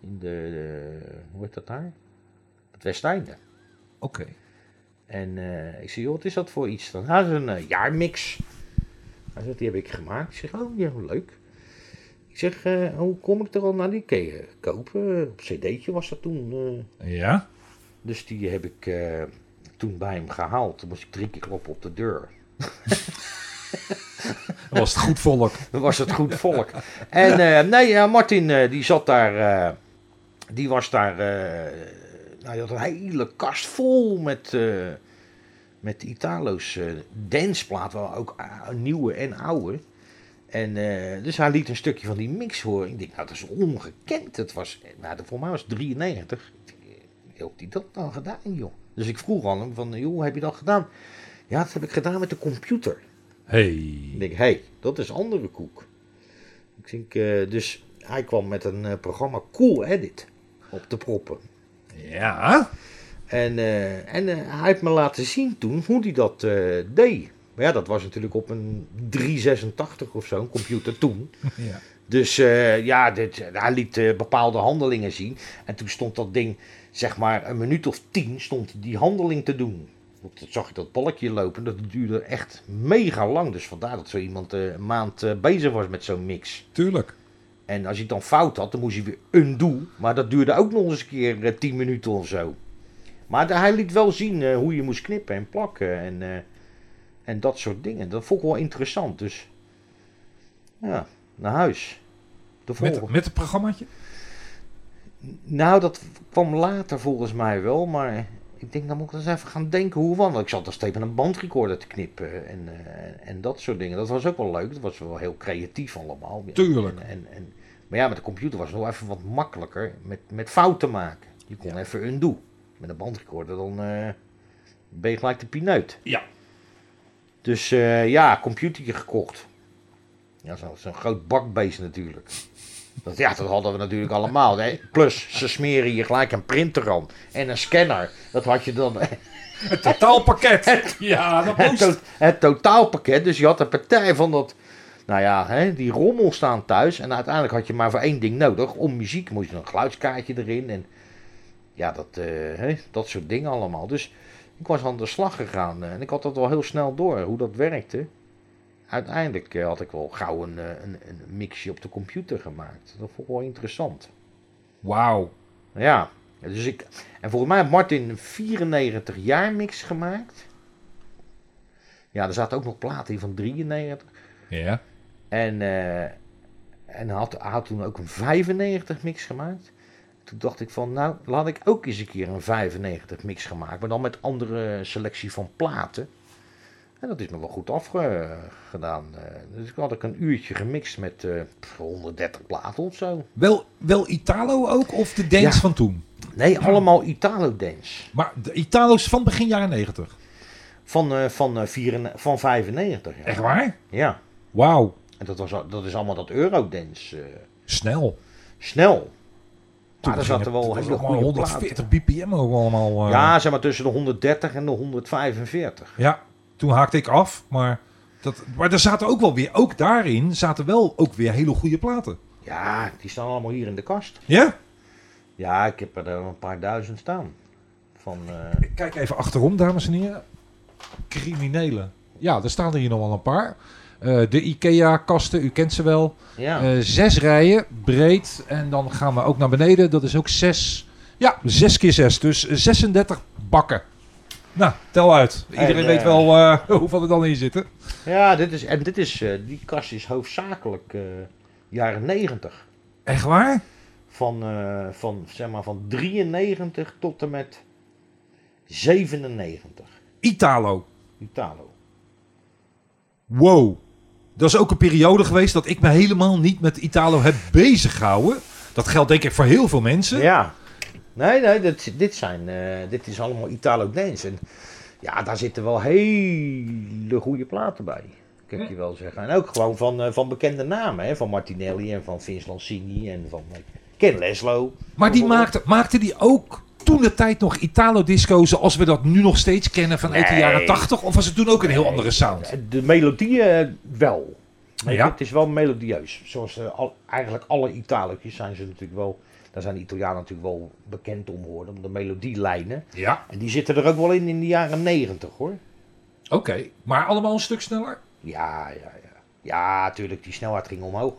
[SPEAKER 3] In de, eh, hoe heet dat daar? Het Westeinde.
[SPEAKER 2] Oké.
[SPEAKER 3] En eh, ik zei, joh, wat is dat voor iets? Dan had ze een eh, jaarmix. Hij zegt, die heb ik gemaakt. Ik zeg, oh, ja, leuk. Ik zeg, eh, hoe kom ik er al naar? Die kun je kopen. Op cd'tje was dat toen. eh.
[SPEAKER 2] Ja?
[SPEAKER 3] Dus die heb ik eh, toen bij hem gehaald. Toen moest ik drie keer kloppen op de deur.
[SPEAKER 2] Dat was het goed volk.
[SPEAKER 3] Dan was het goed volk. En eh, nee, ja, Martin eh, die zat daar, eh, die was daar, eh, nou, die had een hele kast vol met, eh, met Italo's eh danceplaat, wel ook ah, nieuwe en oude. En eh, dus hij liet een stukje van die mix horen. Ik denk, nou, dat is ongekend. Het was, eh, nou, dat voor mij was het 93. Ik denk, eh, Hoe heeft hij dat dan gedaan, joh? Dus ik vroeg aan hem van, joh, heb je dat gedaan? Ja, dat heb ik gedaan met de computer. Ik
[SPEAKER 2] Hey.
[SPEAKER 3] denk, hé, hey, dat is andere koek. Ik denk, eh, dus hij kwam met een eh, programma Cool Edit op de proppen.
[SPEAKER 2] Ja?
[SPEAKER 3] En, eh, en eh, hij heeft me laten zien toen hoe hij dat eh, deed. Maar ja, dat was natuurlijk op een 386 of zo, een computer toen.
[SPEAKER 2] ja.
[SPEAKER 3] Dus eh, ja, dit, hij liet eh, bepaalde handelingen zien. En toen stond dat ding, zeg maar een minuut of tien, stond die handeling te doen. Want toen zag ik dat balkje lopen, dat duurde echt mega lang. Dus vandaar dat zo iemand eh, een maand eh, bezig was met zo'n mix.
[SPEAKER 2] Tuurlijk.
[SPEAKER 3] En als hij het dan fout had, dan moest hij weer undo. Maar dat duurde ook nog eens een keer eh, tien minuten of zo. Maar de- hij liet wel zien eh, hoe je moest knippen en plakken en, eh, en dat soort dingen. Dat vond ik wel interessant. Dus ja, naar huis. De volgende.
[SPEAKER 2] Met, met het programmaatje?
[SPEAKER 3] Nou, dat kwam later volgens mij wel, maar ik denk dan moet ik eens even gaan denken hoe want ik zat er steeds met een bandrecorder te knippen en, eh, en dat soort dingen. Dat was ook wel leuk, dat was wel heel creatief allemaal.
[SPEAKER 2] Tuurlijk.
[SPEAKER 3] En, en, en- maar ja, met de computer was het nog even wat makkelijker met, met fouten maken. Je kon even undo. Met een bandrecorder dan eh, ben je gelijk de pineut.
[SPEAKER 2] Ja.
[SPEAKER 3] Dus eh, ja, computertje gekocht. Ja, zo- zo'n groot bakbeest natuurlijk. Dat, ja, dat hadden we natuurlijk allemaal. Hè? Plus, ze smeren je gelijk een printer aan. En een scanner. Dat had je dan.
[SPEAKER 2] Het totaalpakket. ja, dat
[SPEAKER 3] Het,
[SPEAKER 2] moest.
[SPEAKER 3] to- het totaalpakket. Dus je had een partij van dat. Nou ja, hè, die rommel staan thuis. En uiteindelijk had je maar voor één ding nodig. Om muziek moest je een geluidskaartje erin. En ja, dat, eh, hè, dat soort dingen allemaal. Dus ik was aan de slag gegaan. eh, En ik had dat wel heel snel door hoe dat werkte. Uiteindelijk eh, had ik wel gauw een, eh, een, een mixje op de computer gemaakt. Dat vond ik wel interessant.
[SPEAKER 2] Wauw.
[SPEAKER 3] Ja, dus ik. En volgens mij heeft Martin een 94 jaar mix gemaakt. Ja, er zaten ook nog platen in van 93.
[SPEAKER 2] Ja.
[SPEAKER 3] En, eh, en hij had, hij had toen ook een 95 mix gemaakt. Toen dacht ik van, nou, laat ik ook eens een keer een 95 mix gaan maken. Maar dan met andere selectie van platen. En dat is me wel goed afgedaan. Dus toen had ik een uurtje gemixt met eh, 130 platen of zo.
[SPEAKER 2] Wel, wel Italo ook of de dance
[SPEAKER 3] Ja.
[SPEAKER 2] van toen?
[SPEAKER 3] Nee, allemaal Italo-dance.
[SPEAKER 2] Maar de Italo's van begin jaren negentig.
[SPEAKER 3] Van, eh, van, eh, vier en- van 95. Ja.
[SPEAKER 2] Echt waar?
[SPEAKER 3] Ja.
[SPEAKER 2] Wauw.
[SPEAKER 3] En dat, was, al- dat is allemaal dat Eurodance. eh,
[SPEAKER 2] Snel.
[SPEAKER 3] snel.
[SPEAKER 2] Toen
[SPEAKER 3] Maar er
[SPEAKER 2] ging
[SPEAKER 3] Ah, zaten
[SPEAKER 2] het- het
[SPEAKER 3] wel
[SPEAKER 2] was
[SPEAKER 3] hele
[SPEAKER 2] allemaal
[SPEAKER 3] goede
[SPEAKER 2] 140 bpm ook allemaal. eh,
[SPEAKER 3] Ja, zeg maar tussen de 130 en de 145.
[SPEAKER 2] ja. Toen haakte ik af, maar... Dat, maar er zaten ook wel weer, ook daarin zaten wel ook weer hele goede platen.
[SPEAKER 3] Ja, die staan allemaal hier in de kast.
[SPEAKER 2] Ja?
[SPEAKER 3] Ja, ik heb er eh, een paar duizend staan. Van, eh,
[SPEAKER 2] Ik kijk even achterom, dames en heren. Criminelen. Ja, er staan er hier nog wel een paar. Eh, de IKEA-kasten, u kent ze wel.
[SPEAKER 3] ja.
[SPEAKER 2] Eh, zes rijen, breed. En dan gaan we ook naar beneden. Dat is ook zes. Ja, zes keer zes. Dus 36 bakken. Nou, tel uit. Iedereen
[SPEAKER 3] En, eh,
[SPEAKER 2] weet wel eh, hoeveel er dan in zitten.
[SPEAKER 3] ja, dit is, en dit is, eh, die kast is hoofdzakelijk eh, jaren 90.
[SPEAKER 2] Echt waar?
[SPEAKER 3] Van, eh, van, zeg maar, van 93 tot en met 97.
[SPEAKER 2] Italo.
[SPEAKER 3] Italo.
[SPEAKER 2] Wow. Dat is ook een periode geweest dat ik me helemaal niet met Italo heb bezig gehouden. Dat geldt denk ik voor heel veel mensen.
[SPEAKER 3] Ja. Nee, nee, dit, dit, zijn, eh, dit is allemaal Italo-Dance. En ja, daar zitten wel hele goede platen bij. Kan ik je wel zeggen. En ook gewoon van, eh, van bekende namen. Hè? Van Martinelli en van Vince Lancini en van eh, Ken Leslo.
[SPEAKER 2] Maar die maakte, maakte die ook toen de tijd nog Italo-disco zoals we dat nu nog steeds kennen vanuit de
[SPEAKER 3] Nee.
[SPEAKER 2] jaren 80? Of was het toen ook een heel andere sound?
[SPEAKER 3] De melodieën eh, wel. Weet je,
[SPEAKER 2] Ja.
[SPEAKER 3] Het is wel melodieus. Zoals eh, al, eigenlijk alle Italiërs zijn ze natuurlijk wel... Daar zijn de Italianen natuurlijk wel bekend om geworden. Om de melodielijnen.
[SPEAKER 2] Ja,
[SPEAKER 3] En die zitten er ook wel in in de jaren negentig hoor.
[SPEAKER 2] oké. Maar allemaal een stuk sneller?
[SPEAKER 3] Ja, ja, ja. Ja, tuurlijk, die snelheid ging omhoog.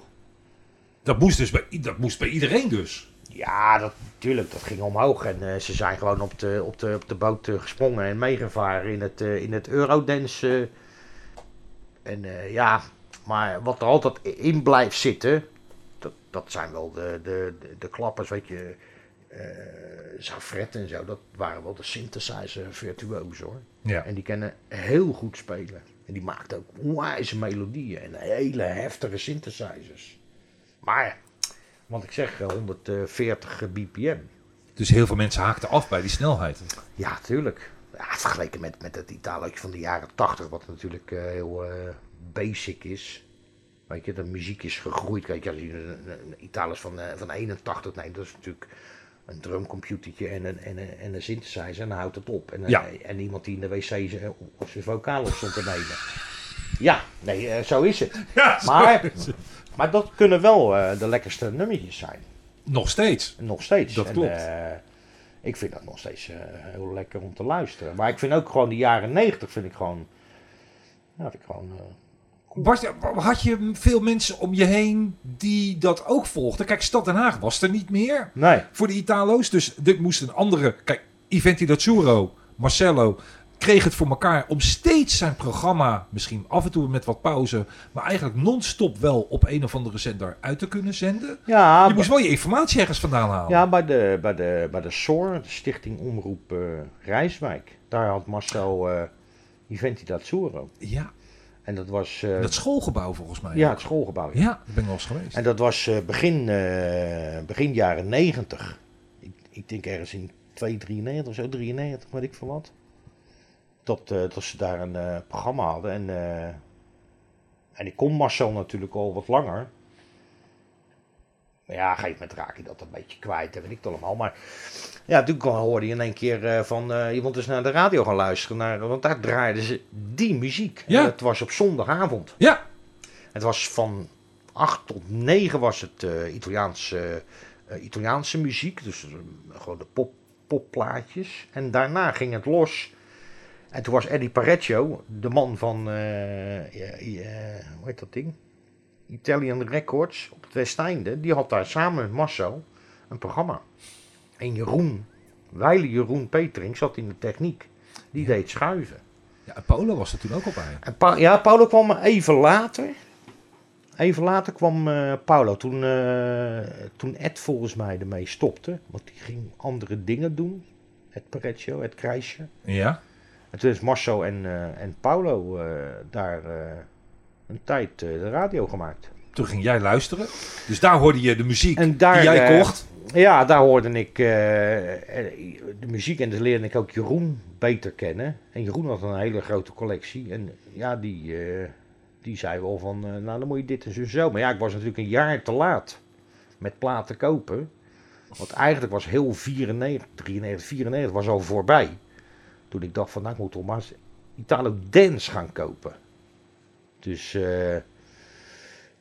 [SPEAKER 2] Dat moest dus bij, i- dat moest bij iedereen dus.
[SPEAKER 3] Ja, dat, tuurlijk, dat ging omhoog. En eh, ze zijn gewoon op de, op de, op de boot eh, gesprongen en meegevaren in het, eh, in het Eurodance. eh. en eh, ja, maar wat er altijd in blijft zitten, dat, dat zijn wel de, de, de, de klappers, weet je. eh Zafret en zo, dat waren wel de synthesizer virtuozen hoor.
[SPEAKER 2] Ja.
[SPEAKER 3] En die kennen heel goed spelen. En die maakt ook onwijze melodieën en hele heftige synthesizers. Maar, want ik zeg eh, 140 bpm.
[SPEAKER 2] Dus heel veel mensen haakten af bij die snelheid.
[SPEAKER 3] Ja, tuurlijk. Ja, vergeleken met, met het Italootje van de jaren 80, wat natuurlijk eh, heel eh, basic is. Weet je, de muziek is gegroeid. Kijk, als je een, een een Italus van, eh, van 81 neemt, dat is natuurlijk een drumcomputertje en een, en, een, en een synthesizer en dan houdt het op. En, eh,
[SPEAKER 2] Ja.
[SPEAKER 3] en iemand die in de wc z- of zijn vocaal op stond te nemen. Ja, nee, eh, zo is het.
[SPEAKER 2] Ja,
[SPEAKER 3] Maar, maar dat kunnen wel eh, de lekkerste nummertjes zijn.
[SPEAKER 2] Nog steeds.
[SPEAKER 3] Nog steeds.
[SPEAKER 2] Dat
[SPEAKER 3] En,
[SPEAKER 2] klopt.
[SPEAKER 3] eh, ik vind dat nog steeds eh, heel lekker om te luisteren. Maar ik vind ook gewoon de jaren 90 vind ik gewoon. Ja, vind ik gewoon. eh,
[SPEAKER 2] Bart, had je veel mensen om je heen die dat ook volgden? Kijk, Stad Den Haag was er niet meer.
[SPEAKER 3] nee.
[SPEAKER 2] voor de Italo's. Dus dit moest een andere. Kijk, Iventi Dazzurro, Marcello kreeg het voor elkaar om steeds zijn programma, misschien af en toe met wat pauze, maar eigenlijk non-stop wel op een of andere zender uit te kunnen zenden.
[SPEAKER 3] Ja,
[SPEAKER 2] Je
[SPEAKER 3] bij-
[SPEAKER 2] moest wel je informatie ergens vandaan halen.
[SPEAKER 3] Ah, ja bij, de, bij, de, bij de SOR, de Stichting Omroep eh, Rijswijk. Daar had Marcel eh Iventi Dazzuro.
[SPEAKER 2] Ja,
[SPEAKER 3] En dat was. eh,
[SPEAKER 2] dat schoolgebouw volgens mij.
[SPEAKER 3] ja, het schoolgebouw.
[SPEAKER 2] ja daar ben ik wel eens geweest.
[SPEAKER 3] En dat was eh, begin, eh, begin jaren 90. Ik, ik denk ergens in 293 of zo, 93, weet ik veel wat. Dat, eh, dat ze daar een eh, programma hadden. En, eh, en ik kon Marcel natuurlijk al wat langer. Maar ja, op een gegeven moment raak je dat een beetje kwijt, en weet ik het allemaal. Maar ja, toen kwam- hoorde je in één keer eh, van, eh, je moet eens naar de radio gaan luisteren. Naar, want daar draaiden ze die muziek.
[SPEAKER 2] Ja.
[SPEAKER 3] En dat was op zondagavond.
[SPEAKER 2] Ja,
[SPEAKER 3] Het was van 8 tot 9 was het eh, Italiaanse, eh, Italiaanse muziek. Dus eh, gewoon de pop, popplaatjes. En daarna ging het los. En toen was Eddie Parecchio, de man van, eh, ja, ja, hoe heet dat ding? Italian Records op het Westeinde. Die had daar samen met Marcel een programma. En Jeroen, wijle Jeroen Petering, zat in de techniek. Die deed schuiven.
[SPEAKER 2] ja en Polen was er toen ook al bij.
[SPEAKER 3] En Pa- ja, Paulo kwam even later. Even later kwam eh Paulo. Toen, eh, toen Ed volgens mij ermee stopte. Want die ging andere dingen doen. Ed Pareccio, Ed Krijsje.
[SPEAKER 2] Ja,
[SPEAKER 3] En toen is Marcel en, eh, en Paulo eh, daar eh, een tijd eh, de radio gemaakt.
[SPEAKER 2] toen ging jij luisteren. Dus daar hoorde je de muziek
[SPEAKER 3] En daar,
[SPEAKER 2] die jij
[SPEAKER 3] eh,
[SPEAKER 2] kocht.
[SPEAKER 3] Ja, daar hoorde ik eh, eh, de muziek en dus leerde ik ook Jeroen beter kennen. En Jeroen had een hele grote collectie. En ja, die, eh, die zei wel van, eh, nou dan moet je dit en zo en zo. Maar ja, ik was natuurlijk een jaar te laat met platen kopen. Want eigenlijk was heel 94, 93, 94 was al voorbij. Toen ik dacht van, nou ik moet toch maar eens Italo Dance gaan kopen. Dus... eh,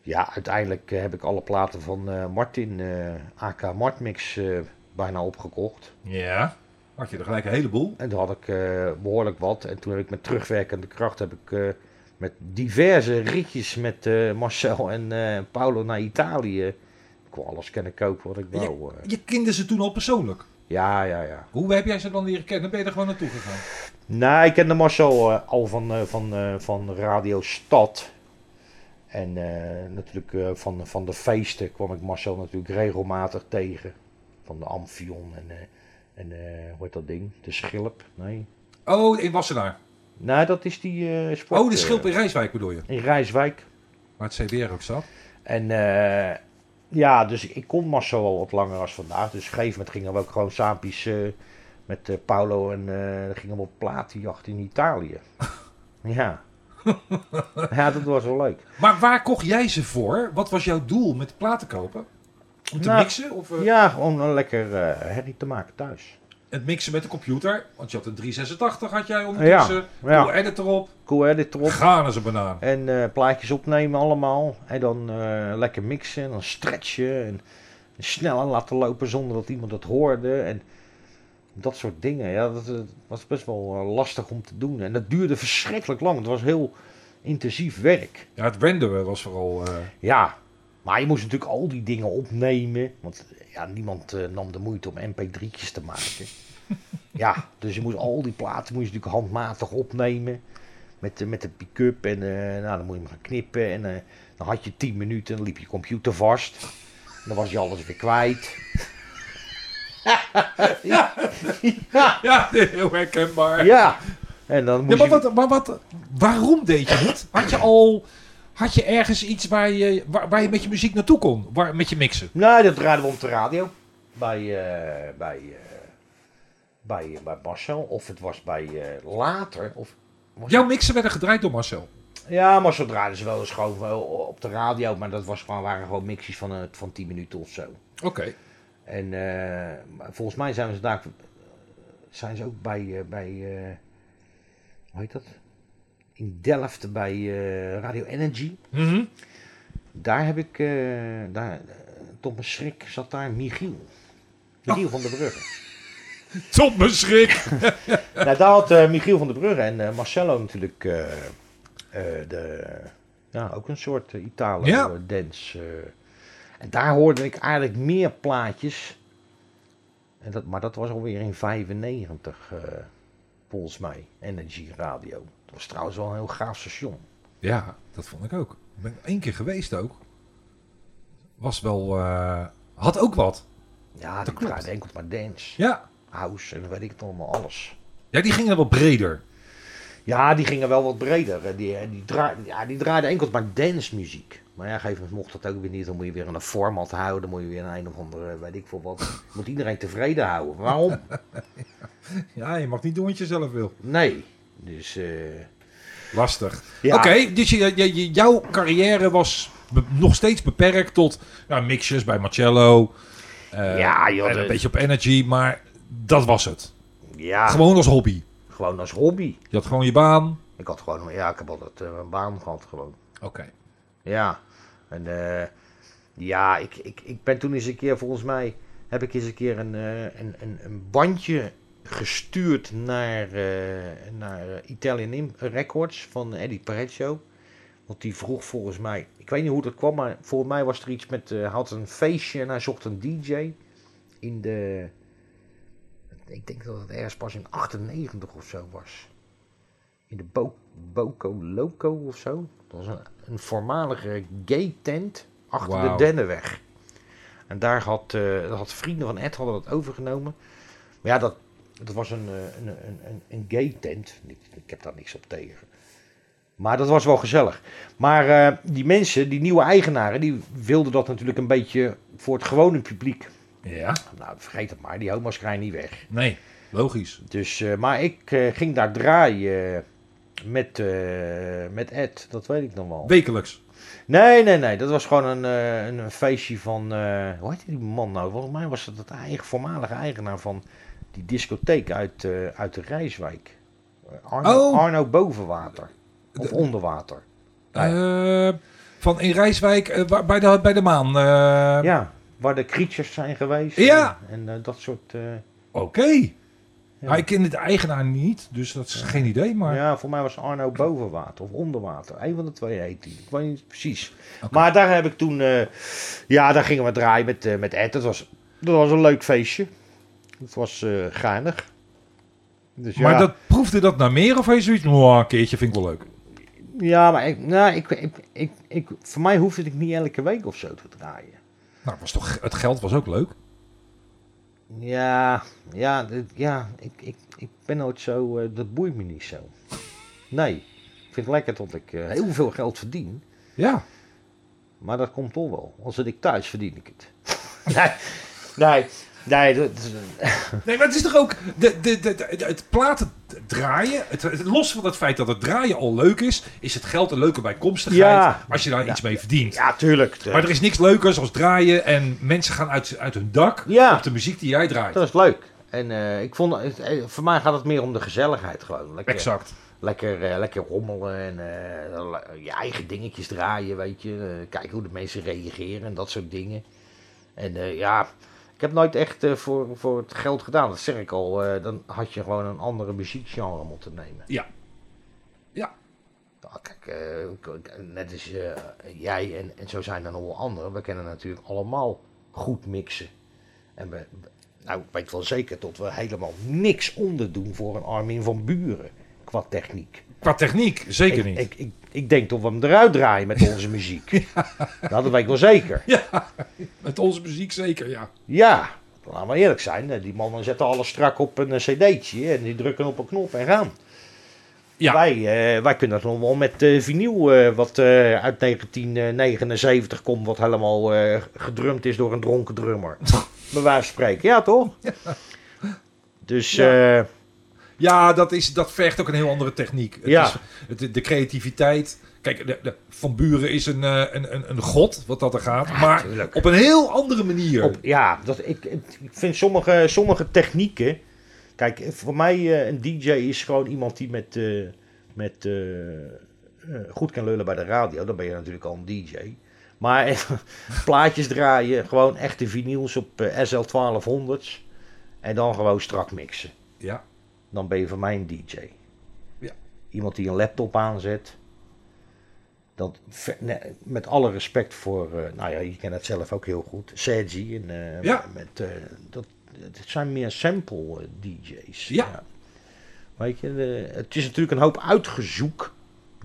[SPEAKER 3] ja, uiteindelijk eh, heb ik alle platen van eh, Martin, eh AK Martmix, eh, bijna opgekocht.
[SPEAKER 2] Ja. Had je er gelijk een heleboel.
[SPEAKER 3] En toen had ik eh, behoorlijk wat. En toen heb ik met terugwerkende kracht heb ik, eh, met diverse ritjes met eh, Marcel en eh, Paolo naar Italië. Ik kon alles kennen kopen wat ik
[SPEAKER 2] Ja.
[SPEAKER 3] wou. eh.
[SPEAKER 2] Je kende ze toen al persoonlijk.
[SPEAKER 3] Ja, ja, ja.
[SPEAKER 2] Hoe heb jij ze dan leren kennen? Ben je er gewoon naartoe gegaan?
[SPEAKER 3] Nou, ik kende Marcel eh, al van, eh, van, eh, van Radio Stad. En eh, natuurlijk eh, van, van de feesten kwam ik Marcel natuurlijk regelmatig tegen. Van de Amphion en, eh, en eh, hoe heet dat ding? De Schilp? Nee.
[SPEAKER 2] Oh, in Wassenaar.
[SPEAKER 3] Nou, dat is die eh sport...
[SPEAKER 2] Oh, de
[SPEAKER 3] eh,
[SPEAKER 2] schilp in Rijswijk bedoel je.
[SPEAKER 3] in Rijswijk.
[SPEAKER 2] Waar het CDR ook zat.
[SPEAKER 3] En eh, ja, dus ik kon Marcel al wat langer als vandaag. Dus op een gegeven moment gingen we ook gewoon saampjes eh, met eh, Paolo en eh gingen we op platenjacht in Italië. ja. ja, dat was wel leuk.
[SPEAKER 2] Maar waar kocht jij ze voor? Wat was jouw doel met platen kopen? Om te
[SPEAKER 3] Nou,
[SPEAKER 2] mixen? Of eh,
[SPEAKER 3] Ja, gewoon een lekker eh, herrie te maken thuis.
[SPEAKER 2] het mixen met de computer? Want je had een 386 had jij ondertussen. Ja,
[SPEAKER 3] ja.
[SPEAKER 2] edit erop.
[SPEAKER 3] Cool edit erop.
[SPEAKER 2] Gaan als een banaan.
[SPEAKER 3] En eh, plaatjes opnemen allemaal. En dan eh, lekker mixen. En dan stretchen. En sneller laten lopen zonder dat iemand het hoorde. En dat soort dingen. Ja, dat, eh, was best wel eh, lastig om te doen. En dat duurde verschrikkelijk lang. Het was heel intensief werk.
[SPEAKER 2] Ja, het renderen was vooral... eh,
[SPEAKER 3] Ja. Maar je moest natuurlijk al die dingen opnemen. Want eh, ja, niemand eh, nam de moeite om mp3'tjes te maken. ja, dus je moest al die platen moest je natuurlijk handmatig opnemen. Met, de- met de pick-up en eh, nou, dan moet je hem gaan knippen. En eh, dan had je 10 minuten en dan liep je computer vast. En dan was je alles weer kwijt. ja,
[SPEAKER 2] ja, heel herkenbaar.
[SPEAKER 3] ja. En dan
[SPEAKER 2] Ja,
[SPEAKER 3] moest
[SPEAKER 2] maar,
[SPEAKER 3] je...
[SPEAKER 2] wat, maar wat, waarom deed je het? Had je al had je ergens iets waar je, waar, waar je met je muziek naartoe kon? Waar, met je mixen?
[SPEAKER 3] Nou, dat raden we op de radio. Bij, eh, bij, eh, bij, eh, bij Marcel. Of het was bij eh, later. Of, was
[SPEAKER 2] Jouw mixen werden gedraaid door Marcel.
[SPEAKER 3] Ja, Marcel draaide ze wel eens gewoon wel op de radio. Maar dat was gewoon, waren gewoon mixies van, eh, van 10 minuten of zo.
[SPEAKER 2] Oké.
[SPEAKER 3] En eh, maar volgens mij zijn ze daar eh, zijn ze ook bij, eh, bij eh, hoe heet dat? In Delft bij eh, Radio Energy.
[SPEAKER 2] Mhm.
[SPEAKER 3] Daar heb ik, eh, daar, eh, tot mijn schrik zat daar Michiel. Michiel van der Brugge.
[SPEAKER 2] Tot mijn schrik.
[SPEAKER 3] nou, daar had eh, Michiel van der Brugge en eh, Marcello natuurlijk eh, eh, de, ja, ook een soort eh,
[SPEAKER 2] Ja.
[SPEAKER 3] Italo-dance. eh. en daar hoorde ik eigenlijk meer plaatjes. En dat, maar dat was alweer in 95, eh, volgens mij, Energy Radio. Dat was trouwens wel een heel gaaf station.
[SPEAKER 2] Ja, dat vond ik ook. Ik ben één keer geweest ook. Was wel... eh, had ook wat.
[SPEAKER 3] Ja,
[SPEAKER 2] Dat
[SPEAKER 3] dat
[SPEAKER 2] klopt.
[SPEAKER 3] draaide enkel maar dance,
[SPEAKER 2] Ja.
[SPEAKER 3] house en weet ik het allemaal, alles.
[SPEAKER 2] Ja, die gingen wel breder.
[SPEAKER 3] Ja, die gingen wel wat breder. hè. Die, die, draa ja, die draaiden enkel maar dancemuziek. Maar ja, op een gegeven moment mocht dat ook weer niet. Dan moet je weer aan een format houden. Dan moet je weer een een of andere, weet ik veel wat. Moet iedereen tevreden houden. Waarom?
[SPEAKER 2] Ja, je mag niet doen wat je zelf wil.
[SPEAKER 3] Nee. Dus, eh,
[SPEAKER 2] Lastig.
[SPEAKER 3] ja.
[SPEAKER 2] Oké, dus je, je- je- jouw carrière was be- nog steeds beperkt tot nou, mixes bij Marcello. eh,
[SPEAKER 3] Ja, joh, dus-
[SPEAKER 2] en een
[SPEAKER 3] dat-
[SPEAKER 2] beetje op Energy, maar dat was het.
[SPEAKER 3] Ja, gewoon.
[SPEAKER 2] Gewoon als hobby.
[SPEAKER 3] als hobby.
[SPEAKER 2] Je had gewoon je baan.
[SPEAKER 3] Ik had gewoon, ja, ik heb altijd eh, een baan gehad gewoon.
[SPEAKER 2] Oké.
[SPEAKER 3] Ja. En eh, ja, ik, ik, ik ben toen eens een keer, volgens mij, heb ik eens een keer een, eh, een, een, een bandje gestuurd naar, eh, naar eh, Italian Im- Records van Eddie Pareccio. Want die vroeg volgens mij, ik weet niet hoe dat kwam, maar volgens mij was er iets met, eh, hij had een feestje en hij zocht een DJ in de, ik denk dat het ergens pas in 98 of zo was. In de Bo Boco Loco of zo. Dat was een, een voormalige gay tent achter
[SPEAKER 2] Wauw.
[SPEAKER 3] de Dennenweg. En daar had, eh, dat had vrienden van Ed hadden dat overgenomen. Maar ja, dat, dat was een, eh, een, een, een, een gay tent. Ik, ik heb daar niks op tegen. Maar dat was wel gezellig. Maar eh, die mensen, die nieuwe eigenaren, die wilden dat natuurlijk een beetje voor het gewone publiek.
[SPEAKER 2] Ja.
[SPEAKER 3] Nou, vergeet het maar, die homo's krijgen niet weg.
[SPEAKER 2] Nee, logisch.
[SPEAKER 3] Dus, eh, maar ik eh, ging daar draaien eh, met, eh, met Ed, dat weet ik nog wel.
[SPEAKER 2] Wekelijks.
[SPEAKER 3] Nee, nee, nee, dat was gewoon een, eh, een, een feestje van, eh, hoe heet die man nou? Volgens mij was dat het eigen, voormalige eigenaar van die discotheek uit, eh, uit de Rijswijk. Eh, Arno,
[SPEAKER 2] Oh.
[SPEAKER 3] Arno Bovenwater, of
[SPEAKER 2] De-
[SPEAKER 3] Onderwater.
[SPEAKER 2] Eh, van in Rijswijk, eh, waar- bij, de, bij de maan. eh,
[SPEAKER 3] ja, waar de creatures zijn geweest.
[SPEAKER 2] Ja.
[SPEAKER 3] En, en, eh, dat soort. eh,
[SPEAKER 2] Oké.
[SPEAKER 3] Ja.
[SPEAKER 2] Maar ik ken de eigenaar niet, dus dat is geen idee. Maar
[SPEAKER 3] Ja, voor mij was Arno boven water of onder water. Een van de twee heet die. Ik weet niet precies. Maar daar heb ik toen. eh, ja, daar gingen we draaien met, eh, met Ed. Dat was, dat was een leuk feestje. Het was eh geinig. Dus ja,
[SPEAKER 2] Maar dat, proefde dat naar meer of heeft zoiets? Oh, een keertje vind ik wel leuk.
[SPEAKER 3] ja, maar ik, nou, ik, ik, ik, ik, voor mij hoefde ik niet elke week of zo te draaien.
[SPEAKER 2] Nou, was toch, het geld was ook leuk.
[SPEAKER 3] Ja, ja, dit- ja ik, ik, ik ben nooit zo, eh, dat boeit me niet zo. Nee, ik vind het lekker dat ik eh, heel veel geld verdien.
[SPEAKER 2] Ja.
[SPEAKER 3] Maar dat komt toch wel. Als het ik thuis verdien ik het. nee, nee, nee. Dat, is-
[SPEAKER 2] Nee, maar het is toch ook... De, de, de, de- het platen draaien... Het, het- los van het feit dat het draaien al leuk is... is het geld een leuke bijkomstigheid...
[SPEAKER 3] Ja.
[SPEAKER 2] als je daar iets mee verdient.
[SPEAKER 3] ja, tuurlijk.
[SPEAKER 2] Maar er is niks leukers als draaien... en mensen gaan uit, uit hun dak...
[SPEAKER 3] Ja.
[SPEAKER 2] op de muziek die jij draait.
[SPEAKER 3] Dat is leuk. En eh, ik vond, het- eh, voor mij gaat het meer om de gezelligheid gewoon. Lekker,
[SPEAKER 2] Exact.
[SPEAKER 3] Lekker, eh, lekker rommelen en eh, le- je eigen dingetjes draaien, weet je. Eh, kijken hoe de mensen reageren en dat soort dingen. En eh, ja, ik heb nooit echt eh, voor, voor het geld gedaan. Dat zeg ik al, eh, dan had je gewoon een andere muziekgenre moeten nemen.
[SPEAKER 2] Ja. Ja.
[SPEAKER 3] Nou, kijk, eh, k- k- net als eh, jij en, en zo zijn er nog wel anderen. We kennen natuurlijk allemaal goed mixen. En we, we- nou, ik weet wel zeker dat we helemaal niks onderdoen voor een Armin van Buren qua techniek.
[SPEAKER 2] Qua techniek zeker
[SPEAKER 3] Ik,
[SPEAKER 2] niet.
[SPEAKER 3] ik, ik, ik denk dat we hem eruit draaien met onze muziek. Nou, dat weet ik wel zeker.
[SPEAKER 2] Met onze muziek zeker, ja.
[SPEAKER 3] Ja, laten we eerlijk zijn. eh, Die mannen zetten alles strak op een eh, cd'tje en die drukken op een knop en gaan.
[SPEAKER 2] Ja.
[SPEAKER 3] Wij, eh, wij kunnen dat nog wel met eh vinyl, eh, wat eh, uit 1979 komt, wat helemaal eh, gedrumd is door een dronken drummer. Bij wijze van spreken, ja toch? Dus ja.
[SPEAKER 2] Ja, dat, is, dat vergt ook een heel andere techniek. Het
[SPEAKER 3] Ja.
[SPEAKER 2] is, het, de creativiteit. Kijk, de, de- Van Buren is een, eh, een, een, een god, wat dat er gaat. Maar
[SPEAKER 3] tuurlijk.
[SPEAKER 2] op een heel andere manier.
[SPEAKER 3] op, ja dat, ik, ik vind sommige, sommige technieken. Kijk, voor mij eh, een DJ is gewoon iemand die met, eh, met eh, eh, goed kan lullen bij de radio. Dan ben je natuurlijk al een DJ. Maar plaatjes draaien, gewoon echte vinyls op eh, SL 1200s. En dan gewoon strak mixen.
[SPEAKER 2] Ja.
[SPEAKER 3] Dan ben je voor mij een DJ.
[SPEAKER 2] Ja.
[SPEAKER 3] Iemand die een laptop aanzet. Dat, ver- nee, met alle respect voor, eh, nou ja, je kent het zelf ook heel goed, Sergi. En, eh,
[SPEAKER 2] Ja.
[SPEAKER 3] met, eh, dat, het zijn meer sample eh, DJ's.
[SPEAKER 2] Ja.
[SPEAKER 3] Weet je, eh, het is natuurlijk een hoop uitgezoek.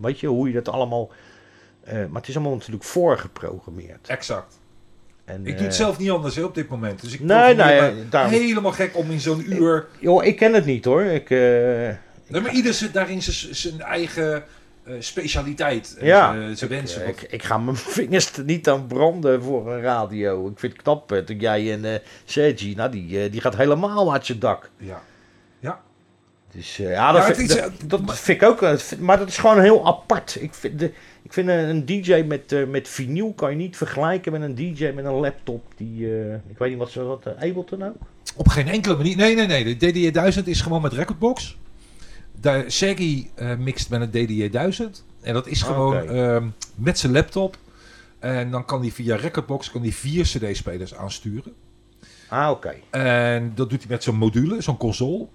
[SPEAKER 3] Weet je, hoe je dat allemaal. eh, maar het is allemaal natuurlijk voorgeprogrammeerd.
[SPEAKER 2] Exact.
[SPEAKER 3] En,
[SPEAKER 2] Ik doe het
[SPEAKER 3] eh,
[SPEAKER 2] zelf niet anders hè, op dit moment. Dus ik
[SPEAKER 3] Nee,
[SPEAKER 2] probeer
[SPEAKER 3] nee,
[SPEAKER 2] me
[SPEAKER 3] eh, daarom-
[SPEAKER 2] helemaal gek om in zo'n uur...
[SPEAKER 3] Joh, ik ken het niet hoor. Ik, eh,
[SPEAKER 2] Nee, maar ieder zit daarin zijn- zijn eigen eh, specialiteit. en
[SPEAKER 3] Ja.
[SPEAKER 2] zijn- Zijn wensen.
[SPEAKER 3] Ik, ik ga mijn vingers er niet aan branden voor een radio. Ik vind het knap eh, dat jij en eh Sergi, nou die, eh, die gaat helemaal uit zijn dak.
[SPEAKER 2] Ja.
[SPEAKER 3] Dus eh, ja, dat,
[SPEAKER 2] Ja, het
[SPEAKER 3] vind,
[SPEAKER 2] is-
[SPEAKER 3] dat, dat vind ik ook. eh, vind- Maar dat is gewoon heel apart. Ik vind, de, ik vind een, een DJ met, eh met vinyl kan je niet vergelijken met een DJ met een laptop. Die, eh, ik weet niet wat ze dat, eh, Ableton ook.
[SPEAKER 2] Op geen enkele manier. Nee, nee, nee. De DDJ-1000 is gewoon met Recordbox. De Sergi eh, mixt met een DDJ-1000. En dat is
[SPEAKER 3] Ah,
[SPEAKER 2] gewoon
[SPEAKER 3] oké.
[SPEAKER 2] ehm, met zijn laptop. En dan kan hij via Recordbox kan hij vier cd-spelers aansturen.
[SPEAKER 3] Ah, oké.
[SPEAKER 2] En dat doet hij met zo'n module, zo'n console.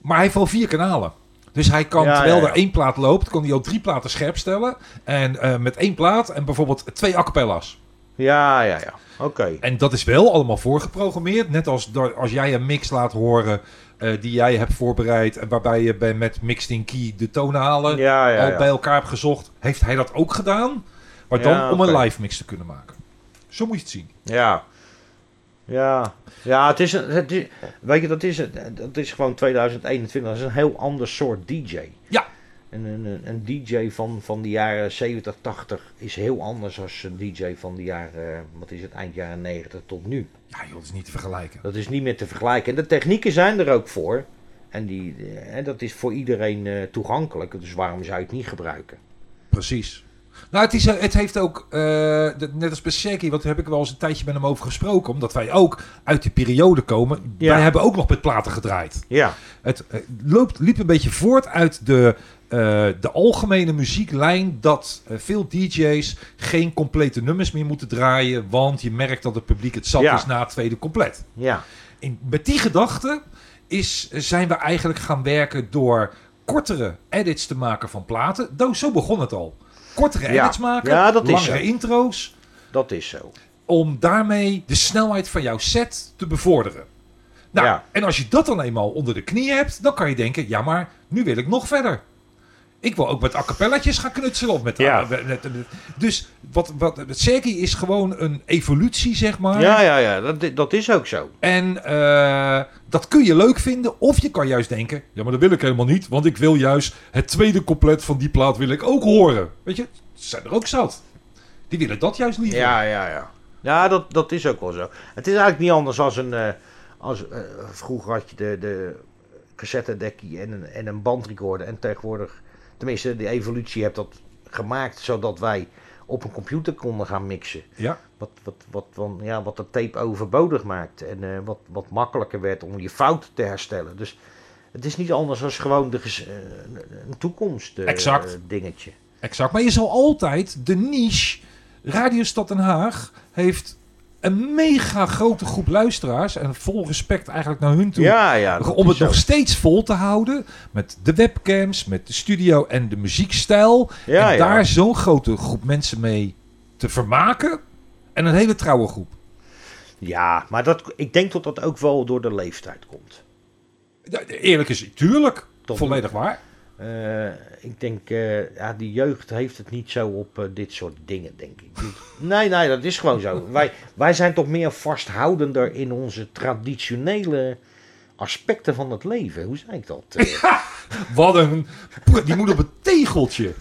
[SPEAKER 2] Maar hij heeft al vier kanalen. Dus hij kan,
[SPEAKER 3] Ja,
[SPEAKER 2] terwijl
[SPEAKER 3] ja, ja.
[SPEAKER 2] er één plaat loopt, kan hij al drie platen scherp stellen. En eh, met één plaat en bijvoorbeeld twee a cappella's.
[SPEAKER 3] Ja, ja, ja. Oké.
[SPEAKER 2] En dat is wel allemaal voorgeprogrammeerd. Net als da- als jij een mix laat horen eh, die jij hebt voorbereid. En waarbij je bij, met Mixed in Key de tonalen
[SPEAKER 3] Ja, ja,
[SPEAKER 2] al bij
[SPEAKER 3] ja.
[SPEAKER 2] elkaar hebt gezocht. Heeft hij dat ook gedaan? Maar dan
[SPEAKER 3] Ja,
[SPEAKER 2] om
[SPEAKER 3] oké.
[SPEAKER 2] een live mix te kunnen maken. Zo moet je het zien.
[SPEAKER 3] Ja. Ja, ja het is een, het is, weet je, dat is, het- dat is gewoon 2021. Dat is een heel ander soort DJ.
[SPEAKER 2] Ja.
[SPEAKER 3] Een, een, een- een DJ van, van de jaren 70, 80 is heel anders dan een DJ van de jaren, eh, wat is het, eind jaren 90 tot nu.
[SPEAKER 2] Ja joh, dat is niet te vergelijken.
[SPEAKER 3] Dat is niet meer te vergelijken. En de technieken zijn er ook voor. En die, eh, en dat is voor iedereen eh, toegankelijk. Dus waarom zou je het niet gebruiken?
[SPEAKER 2] Precies. Nou, het, is, het heeft ook, eh, de- net als bij Sergey, want daar heb ik wel eens een tijdje met hem over gesproken, omdat wij ook uit die periode komen.
[SPEAKER 3] Ja.
[SPEAKER 2] Wij hebben ook nog met platen gedraaid.
[SPEAKER 3] Ja,
[SPEAKER 2] Het eh, loopt, liep een beetje voort uit de, eh, de algemene muzieklijn dat eh, veel DJ's geen complete nummers meer moeten draaien, want je merkt dat het publiek het zat
[SPEAKER 3] Ja.
[SPEAKER 2] is na het tweede compleet.
[SPEAKER 3] ja,
[SPEAKER 2] In, met die gedachte is, eh, zijn we eigenlijk gaan werken door kortere edits te maken van platen. Do- zo begon het al. Kortere
[SPEAKER 3] Ja.
[SPEAKER 2] edits maken,
[SPEAKER 3] Ja, dat is
[SPEAKER 2] langere
[SPEAKER 3] zo.
[SPEAKER 2] intro's.
[SPEAKER 3] dat is zo.
[SPEAKER 2] Om daarmee de snelheid van jouw set te bevorderen. Nou,
[SPEAKER 3] Ja.
[SPEAKER 2] en als je dat dan eenmaal onder de knie hebt, dan kan je denken: ja, maar nu wil ik nog verder. Ik wil ook met a cappellaatjes gaan knutselen. Of met
[SPEAKER 3] Ja.
[SPEAKER 2] met- met- met- dus wat, wat, Serki is gewoon een evolutie, zeg maar.
[SPEAKER 3] Ja, ja, ja, dat, dat is ook zo.
[SPEAKER 2] En eh, dat kun je leuk vinden. Of je kan juist denken, ja, maar dat wil ik helemaal niet. Want ik wil juist het tweede compleet van die plaat wil ik ook horen. Weet je, ze zijn er ook zat. Die willen dat juist liever.
[SPEAKER 3] Ja, ja, ja. Ja, dat, dat is ook wel zo. Het is eigenlijk niet anders als een... eh, als, eh, vroeger had je de, de cassettedekkie en een, en een bandrecorder. En tegenwoordig... Tenminste, de evolutie heeft dat gemaakt... zodat wij op een computer konden gaan mixen.
[SPEAKER 2] Ja.
[SPEAKER 3] Wat, wat, wat, van, ja, wat de tape overbodig maakt. En eh, wat, wat makkelijker werd om je fout te herstellen. Dus het is niet anders als gewoon de ges- eh, een toekomst eh,
[SPEAKER 2] Exact.
[SPEAKER 3] dingetje.
[SPEAKER 2] exact. Maar je zal altijd de niche... Radio Stad Den Haag heeft een mega grote groep luisteraars. En vol respect eigenlijk naar hun toe.
[SPEAKER 3] Ja, ja. dat
[SPEAKER 2] om
[SPEAKER 3] is
[SPEAKER 2] het nog
[SPEAKER 3] zo.
[SPEAKER 2] steeds vol te houden met de webcams, met de studio en de muziekstijl.
[SPEAKER 3] Ja,
[SPEAKER 2] en
[SPEAKER 3] ja.
[SPEAKER 2] daar zo'n grote groep mensen mee te vermaken. En een hele trouwe groep.
[SPEAKER 3] Ja, maar dat, ik denk dat dat ook wel door de leeftijd komt.
[SPEAKER 2] Ja, Eerlijk is het, tuurlijk.
[SPEAKER 3] Tot-
[SPEAKER 2] volledig waar.
[SPEAKER 3] Eh, ik denk, eh, ja, die jeugd heeft het niet zo op eh, dit soort dingen, denk ik. Nee, nee, dat is gewoon zo. Wij, wij zijn toch meer vasthoudender in onze traditionele aspecten van het leven. Hoe zei ik dat? Eh,
[SPEAKER 2] Wat een... pr- Die moet op het tegeltje.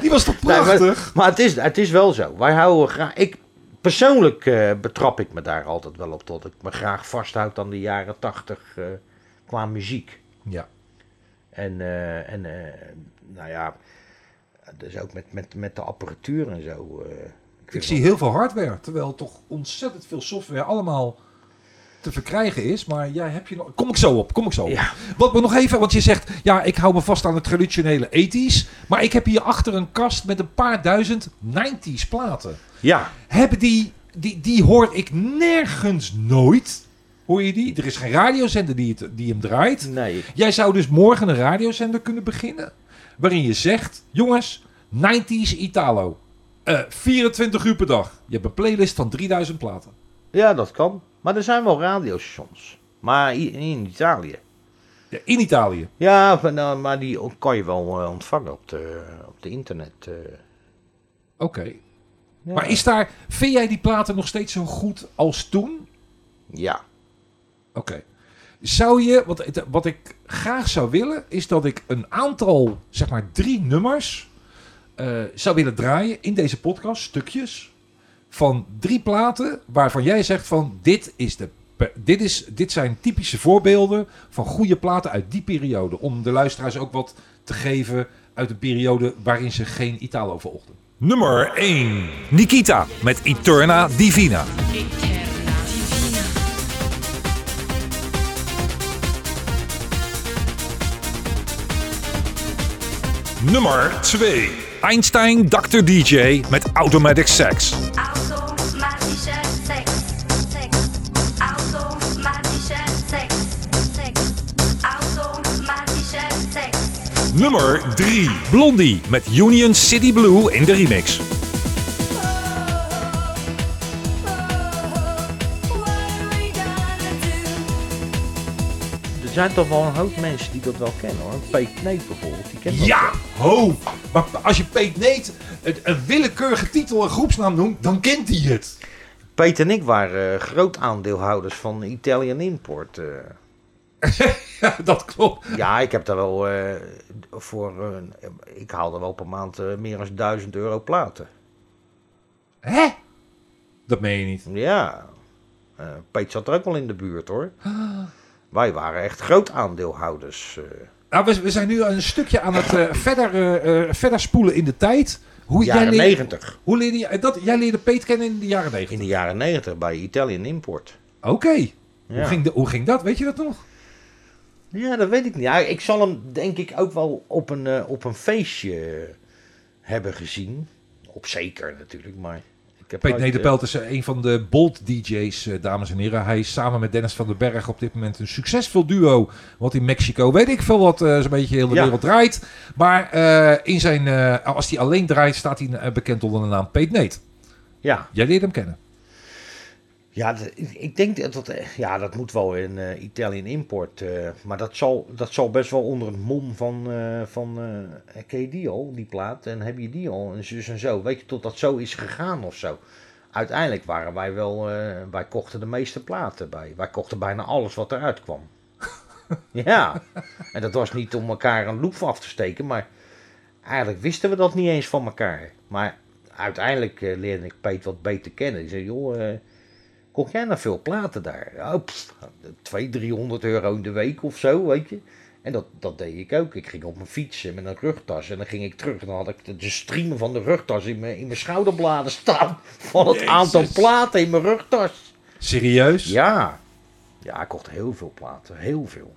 [SPEAKER 2] Die was toch
[SPEAKER 3] nee, maar-
[SPEAKER 2] prachtig?
[SPEAKER 3] maar het, is, het is wel zo. Wij houden graag... Ik, persoonlijk eh, betrap ik me daar altijd wel op tot ik me graag vasthoud aan de jaren tachtig eh, qua muziek.
[SPEAKER 2] Ja.
[SPEAKER 3] En, eh, en eh, nou ja, dus ook met, met, met de apparatuur en zo. eh, ik
[SPEAKER 2] Ik
[SPEAKER 3] vind
[SPEAKER 2] zie
[SPEAKER 3] wel-
[SPEAKER 2] heel veel hardware. Terwijl toch ontzettend veel software allemaal te verkrijgen is. Maar jij hebt je nog... Kom ik zo op, kom ik zo op.
[SPEAKER 3] Ja.
[SPEAKER 2] Wat me nog even... Want je zegt, ja, ik hou me vast aan het traditionele ethisch. Maar ik heb hier achter een kast met een paar duizend 90s platen.
[SPEAKER 3] Ja,
[SPEAKER 2] Hebben die... Die, die hoor ik nergens nooit. Hoor je die? Er is geen radiozender die, het, die hem draait.
[SPEAKER 3] nee.
[SPEAKER 2] Jij zou dus morgen een radiozender kunnen beginnen. Waarin je zegt: jongens, 90s Italo. Eh, 24 uur per dag. Je hebt een playlist van 3000 platen.
[SPEAKER 3] Ja, dat kan. Maar er zijn wel radiostations. Maar i- in Italië.
[SPEAKER 2] Ja, in Italië.
[SPEAKER 3] Ja, maar, nou, maar die kan je wel eh, ontvangen op de, op de internet. eh.
[SPEAKER 2] Oké.
[SPEAKER 3] Ja.
[SPEAKER 2] Maar is daar, vind jij die platen nog steeds zo goed als toen?
[SPEAKER 3] Ja.
[SPEAKER 2] Oké. Zou je, want het- wat ik graag zou willen, is dat ik een aantal, zeg maar drie nummers, eh, zou willen draaien in deze podcast, stukjes, van drie platen waarvan jij zegt van dit, is de, pe- dit, is, dit zijn typische voorbeelden van goede platen uit die periode. Om de luisteraars ook wat te geven uit de periode waarin ze geen Italo volgden.
[SPEAKER 4] Nummer 1. Nikita met Eterna Divina.
[SPEAKER 5] Eterna divina,
[SPEAKER 4] Nummer 2. Einstein Dr. DJ met Automatic Sex.
[SPEAKER 6] Automatische seks, seks. Automatische seks, seks. Automatische seks.
[SPEAKER 4] Nummer 3. Blondie met Union City Blue in de remix.
[SPEAKER 3] Er zijn toch wel een hoop mensen die dat wel kennen hoor. Peet Kneep bijvoorbeeld, die kent dat.
[SPEAKER 2] Ja, ho! Maar als je Peet Neet een- een willekeurige titel en groepsnaam noemt, dan kent hij het.
[SPEAKER 3] Peet en ik waren eh, groot aandeelhouders van Italian Import. eh.
[SPEAKER 2] Ja, dat klopt.
[SPEAKER 3] Ja, ik heb daar wel eh, voor. eh, ik haalde wel per maand eh, meer dan 1000 euro platen.
[SPEAKER 2] Hè? Dat meen je niet.
[SPEAKER 3] Ja. Eh Peet zat er ook wel in de buurt hoor. Wij waren echt groot aandeelhouders. eh.
[SPEAKER 2] Nou, we, we zijn nu een stukje aan het eh, verder, eh, eh, verder spoelen in de tijd. Hoe, jij
[SPEAKER 3] jaren
[SPEAKER 2] leerde-
[SPEAKER 3] 90.
[SPEAKER 2] Hoe leerde jij dat? Jij leerde Peet kennen in de jaren
[SPEAKER 3] In
[SPEAKER 2] 90.
[SPEAKER 3] de jaren 90 bij Italian Import.
[SPEAKER 2] Oké. Hoe,
[SPEAKER 3] Ja.
[SPEAKER 2] ging de- hoe ging dat? Weet je dat nog?
[SPEAKER 3] Ja, dat weet ik niet. Ja, ik zal hem denk ik ook wel op een, eh, op een feestje eh, hebben gezien. Op zeker natuurlijk, maar... Ik heb
[SPEAKER 2] Peet
[SPEAKER 3] nooit,
[SPEAKER 2] Nederpelt is eh, een van de bold DJ's, eh, dames en heren. Hij is samen met Dennis van den Berg op dit moment een succesvol duo. Wat in Mexico, weet ik veel wat, eh, zo'n beetje heel de
[SPEAKER 3] Ja.
[SPEAKER 2] wereld draait. Maar eh, in zijn, eh, als hij alleen draait, staat hij eh, bekend onder de naam Peet Neet.
[SPEAKER 3] eh, ja,
[SPEAKER 2] Jij leert hem kennen.
[SPEAKER 3] Ja, dat- ik- ik denk dat dat, eh, ja, dat moet wel in eh Italian Import. eh, maar dat zal, dat zal best wel onder het mom van, eh, van eh, ken je die al, die plaat? En heb je die al? En zus en zo. Weet je, tot dat zo is gegaan of zo. Uiteindelijk waren wij wel, eh, wij kochten de meeste platen bij. Wij kochten bijna alles wat eruit kwam. ja, en dat was niet om elkaar een loef af te steken, maar eigenlijk wisten we dat niet eens van elkaar. Maar uiteindelijk eh, leerde ik Peet wat beter kennen. Die zei, joh... eh, Kocht jij nou veel platen daar? Ja, pff, 200, 300 euro in de week of zo, weet je. En dat, dat deed ik ook. Ik ging op mijn fiets en met een rugtas en dan ging ik terug. En dan had ik de, de striemen van de rugtas in mijn, in mijn schouderbladen staan. Van het aantal platen in mijn rugtas.
[SPEAKER 2] Serieus?
[SPEAKER 3] Ja. Ja, ik kocht heel veel platen. Heel veel.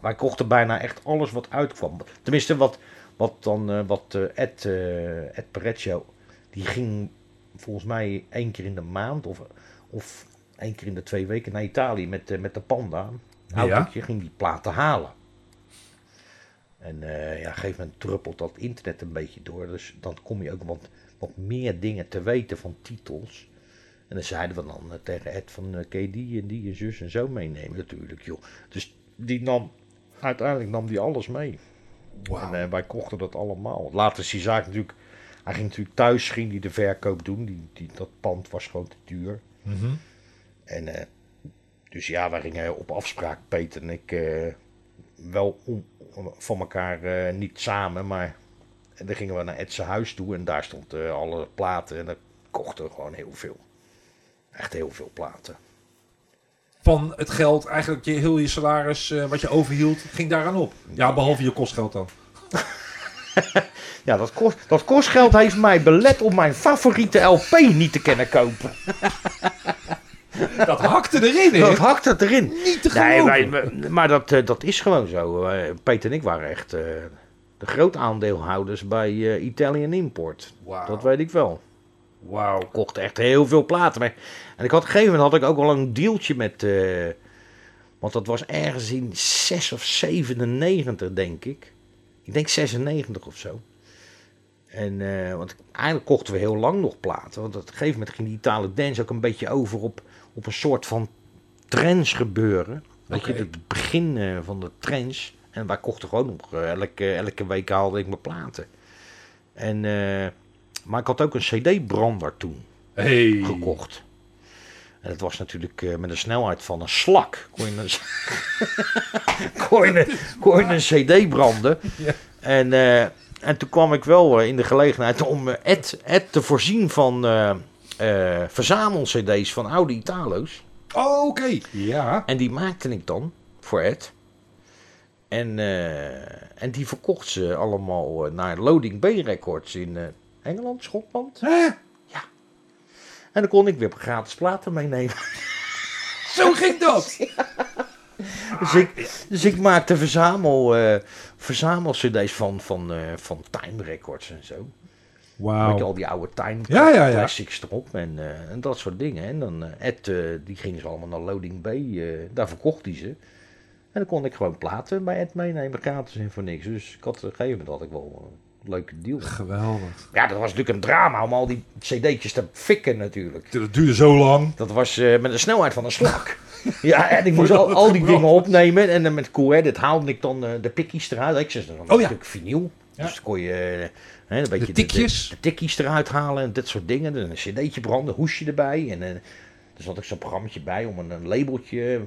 [SPEAKER 3] Wij kochten bijna echt alles wat uitkwam. Tenminste, wat, wat dan eh, wat eh, Ed, eh Ed Pareccio, die ging volgens mij één keer in de maand of, of één keer in de twee weken naar Italië met, eh, met de panda. Autootje ging die platen halen. En eh, ja, op een gegeven moment druppelt dat internet een beetje door. Dus dan kom je ook wat, wat meer dingen te weten van titels. En dan zeiden we dan eh, tegen Ed van, eh, kun je die en die en zus en zo meenemen natuurlijk, joh. Dus die nam, uiteindelijk nam die alles mee. En eh, wij kochten dat allemaal. Later is die zaak natuurlijk, hij ging natuurlijk thuis, ging die de verkoop doen. Die, die, dat pand was gewoon te duur. En eh, dus ja, wij gingen op afspraak, Peter en ik, eh, wel om, om- van elkaar eh, niet samen, maar en dan gingen we naar Edse huis toe en daar stond eh, alle platen en dan kochten we gewoon heel veel. Echt heel veel platen.
[SPEAKER 2] Van het geld, eigenlijk je, heel je salaris, eh, wat je overhield, ging daaraan op. Ja, behalve je kostgeld dan.
[SPEAKER 3] Ja, dat, kost, dat kostgeld heeft mij belet om mijn favoriete LP niet te kunnen kopen.
[SPEAKER 2] Dat hakte erin, hè?
[SPEAKER 3] Dat hakt het erin.
[SPEAKER 2] Niet te
[SPEAKER 3] Nee,
[SPEAKER 2] geloven.
[SPEAKER 3] wij- wij- maar dat, eh, dat is gewoon zo. Eh, Peter en ik waren echt eh, de groot aandeelhouders bij eh, Italian Import.
[SPEAKER 2] Wauw.
[SPEAKER 3] Dat weet ik wel.
[SPEAKER 2] Wauw.
[SPEAKER 3] Ik kocht echt heel veel platen. Maar, en ik had op een gegeven moment had ik ook al een dealtje met. eh, want dat was ergens in 6 of 97, denk ik. Ik denk 96 of zo. En, eh, want eigenlijk kochten we heel lang nog platen. Want op een gegeven moment ging die Italo dance ook een beetje over op, op een soort van trends gebeuren. Weet
[SPEAKER 2] Oké.
[SPEAKER 3] je, het begin eh, van de trends. En wij kochten gewoon nog. eh, elke, elke week haalde ik mijn platen. En, eh, maar ik had ook een CD-brander toen
[SPEAKER 2] Hey.
[SPEAKER 3] gekocht. En dat was natuurlijk eh, met een snelheid van een slak. Kon je een, kon je een, kon je een CD branden. En, eh, en toen kwam ik wel eh, in de gelegenheid om eh, Ed, Ed te voorzien van eh eh, verzamel-CD's van oude Italo's.
[SPEAKER 2] Oh, oké. Ja.
[SPEAKER 3] En die maakte ik dan voor Ed. En, eh, en die verkocht ze allemaal eh, naar Loading B Records in eh, Engeland, Schotland.
[SPEAKER 2] Hè?
[SPEAKER 3] En dan kon ik weer gratis platen meenemen.
[SPEAKER 2] Zo ging dat.
[SPEAKER 3] Dus
[SPEAKER 2] Ah,
[SPEAKER 3] ik, dus ik maakte verzamel, eh verzamel-cd's van, van, eh, van Time Records en zo. Met
[SPEAKER 2] Wauw.
[SPEAKER 3] al die oude Time
[SPEAKER 2] Oh. Ja, ja, ja.
[SPEAKER 3] classics erop en, eh, en dat soort dingen. En dan eh, Ed, eh, die ging ze allemaal naar Loading B. eh, daar verkocht hij ze. En dan kon ik gewoon platen bij Ed meenemen, gratis en voor niks. Dus ik had, op een gegeven moment had ik wel eh, een leuke deal.
[SPEAKER 2] Geweldig.
[SPEAKER 3] Ja, dat was natuurlijk een drama om al die cd'tjes te fikken natuurlijk.
[SPEAKER 2] Dat duurde zo lang.
[SPEAKER 3] Dat was eh, met een snelheid van een slak. ja, en ik moest al, al die dingen opnemen. En dan met Cool Edit haalde ik dan eh, de pikkies eruit. Ik zet dan
[SPEAKER 2] Oh ja.
[SPEAKER 3] een stuk vinyl.
[SPEAKER 2] Ja.
[SPEAKER 3] Dus dan kon je eh, hè, een beetje
[SPEAKER 2] tikjes.
[SPEAKER 3] De, de tikjes eruit halen en dat soort dingen. En een cd'tje branden, hoesje erbij. En eh er zat ook zo'n programmaatje bij om een, een labeltje.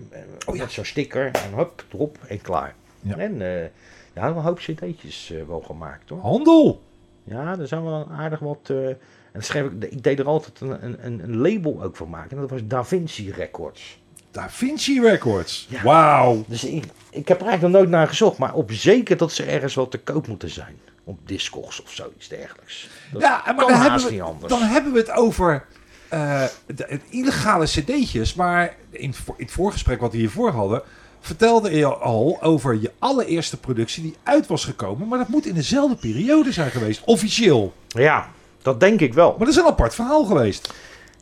[SPEAKER 3] eh, Met zo'n sticker. En hup, erop en klaar.
[SPEAKER 2] Oh, Ja.
[SPEAKER 3] En eh, ja, we hebben een hoop cd'tjes eh, wel gemaakt hoor.
[SPEAKER 2] Handel.
[SPEAKER 3] Ja, er zijn wel aardig wat. eh, en schreef ik, ik deed er altijd een, een- een, een label ook van maken. En dat was Da Vinci Records.
[SPEAKER 2] Da Vinci Records.
[SPEAKER 3] Ja.
[SPEAKER 2] Wauw.
[SPEAKER 3] Dus ik, ik heb er eigenlijk nog nooit naar gezocht. Maar op zeker dat ze ergens wel te koop moeten zijn. op Discogs of zoiets dergelijks. Dat
[SPEAKER 2] Ja, maar dan,
[SPEAKER 3] kan haast
[SPEAKER 2] hebben we,
[SPEAKER 3] niet anders.
[SPEAKER 2] dan hebben we het over eh, de, het illegale cd'tjes. Maar in, het voor- in het voorgesprek wat we hiervoor hadden... vertelde je al over je allereerste productie die uit was gekomen. Maar dat moet in dezelfde periode zijn geweest, officieel.
[SPEAKER 3] Ja, dat denk ik wel.
[SPEAKER 2] Maar dat is een apart verhaal geweest.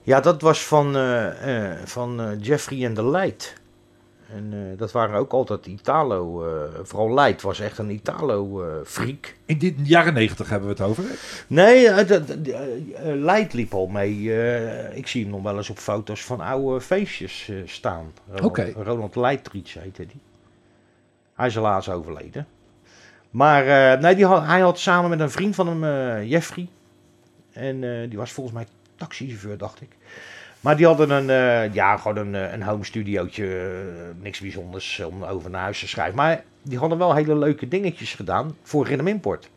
[SPEAKER 3] Ja, dat was van, eh, eh, van eh, Jeffrey en de Light. En eh, dat waren ook altijd Italo. eh, vooral Light was echt een eh, Italo-freak.
[SPEAKER 2] In de jaren negentig hebben we het over.
[SPEAKER 3] nee, eh, dat- dat- eh, eh, Light liep al mee. eh, ik zie hem nog wel eens op foto's van oude feestjes eh, staan. Ronald,
[SPEAKER 2] Oké.
[SPEAKER 3] Ronald Leitrich heette die. Hij is helaas overleden. Maar eh, nee, die had, hij had samen met een vriend van hem, eh, Jeffrey. En eh, die was volgens mij taxichauffeur, dacht ik. Maar die hadden een, eh, ja, gewoon een, eh, een home studiootje. eh, niks bijzonders om over naar huis te schrijven. Maar die hadden wel hele leuke dingetjes gedaan voor Rhythm Import.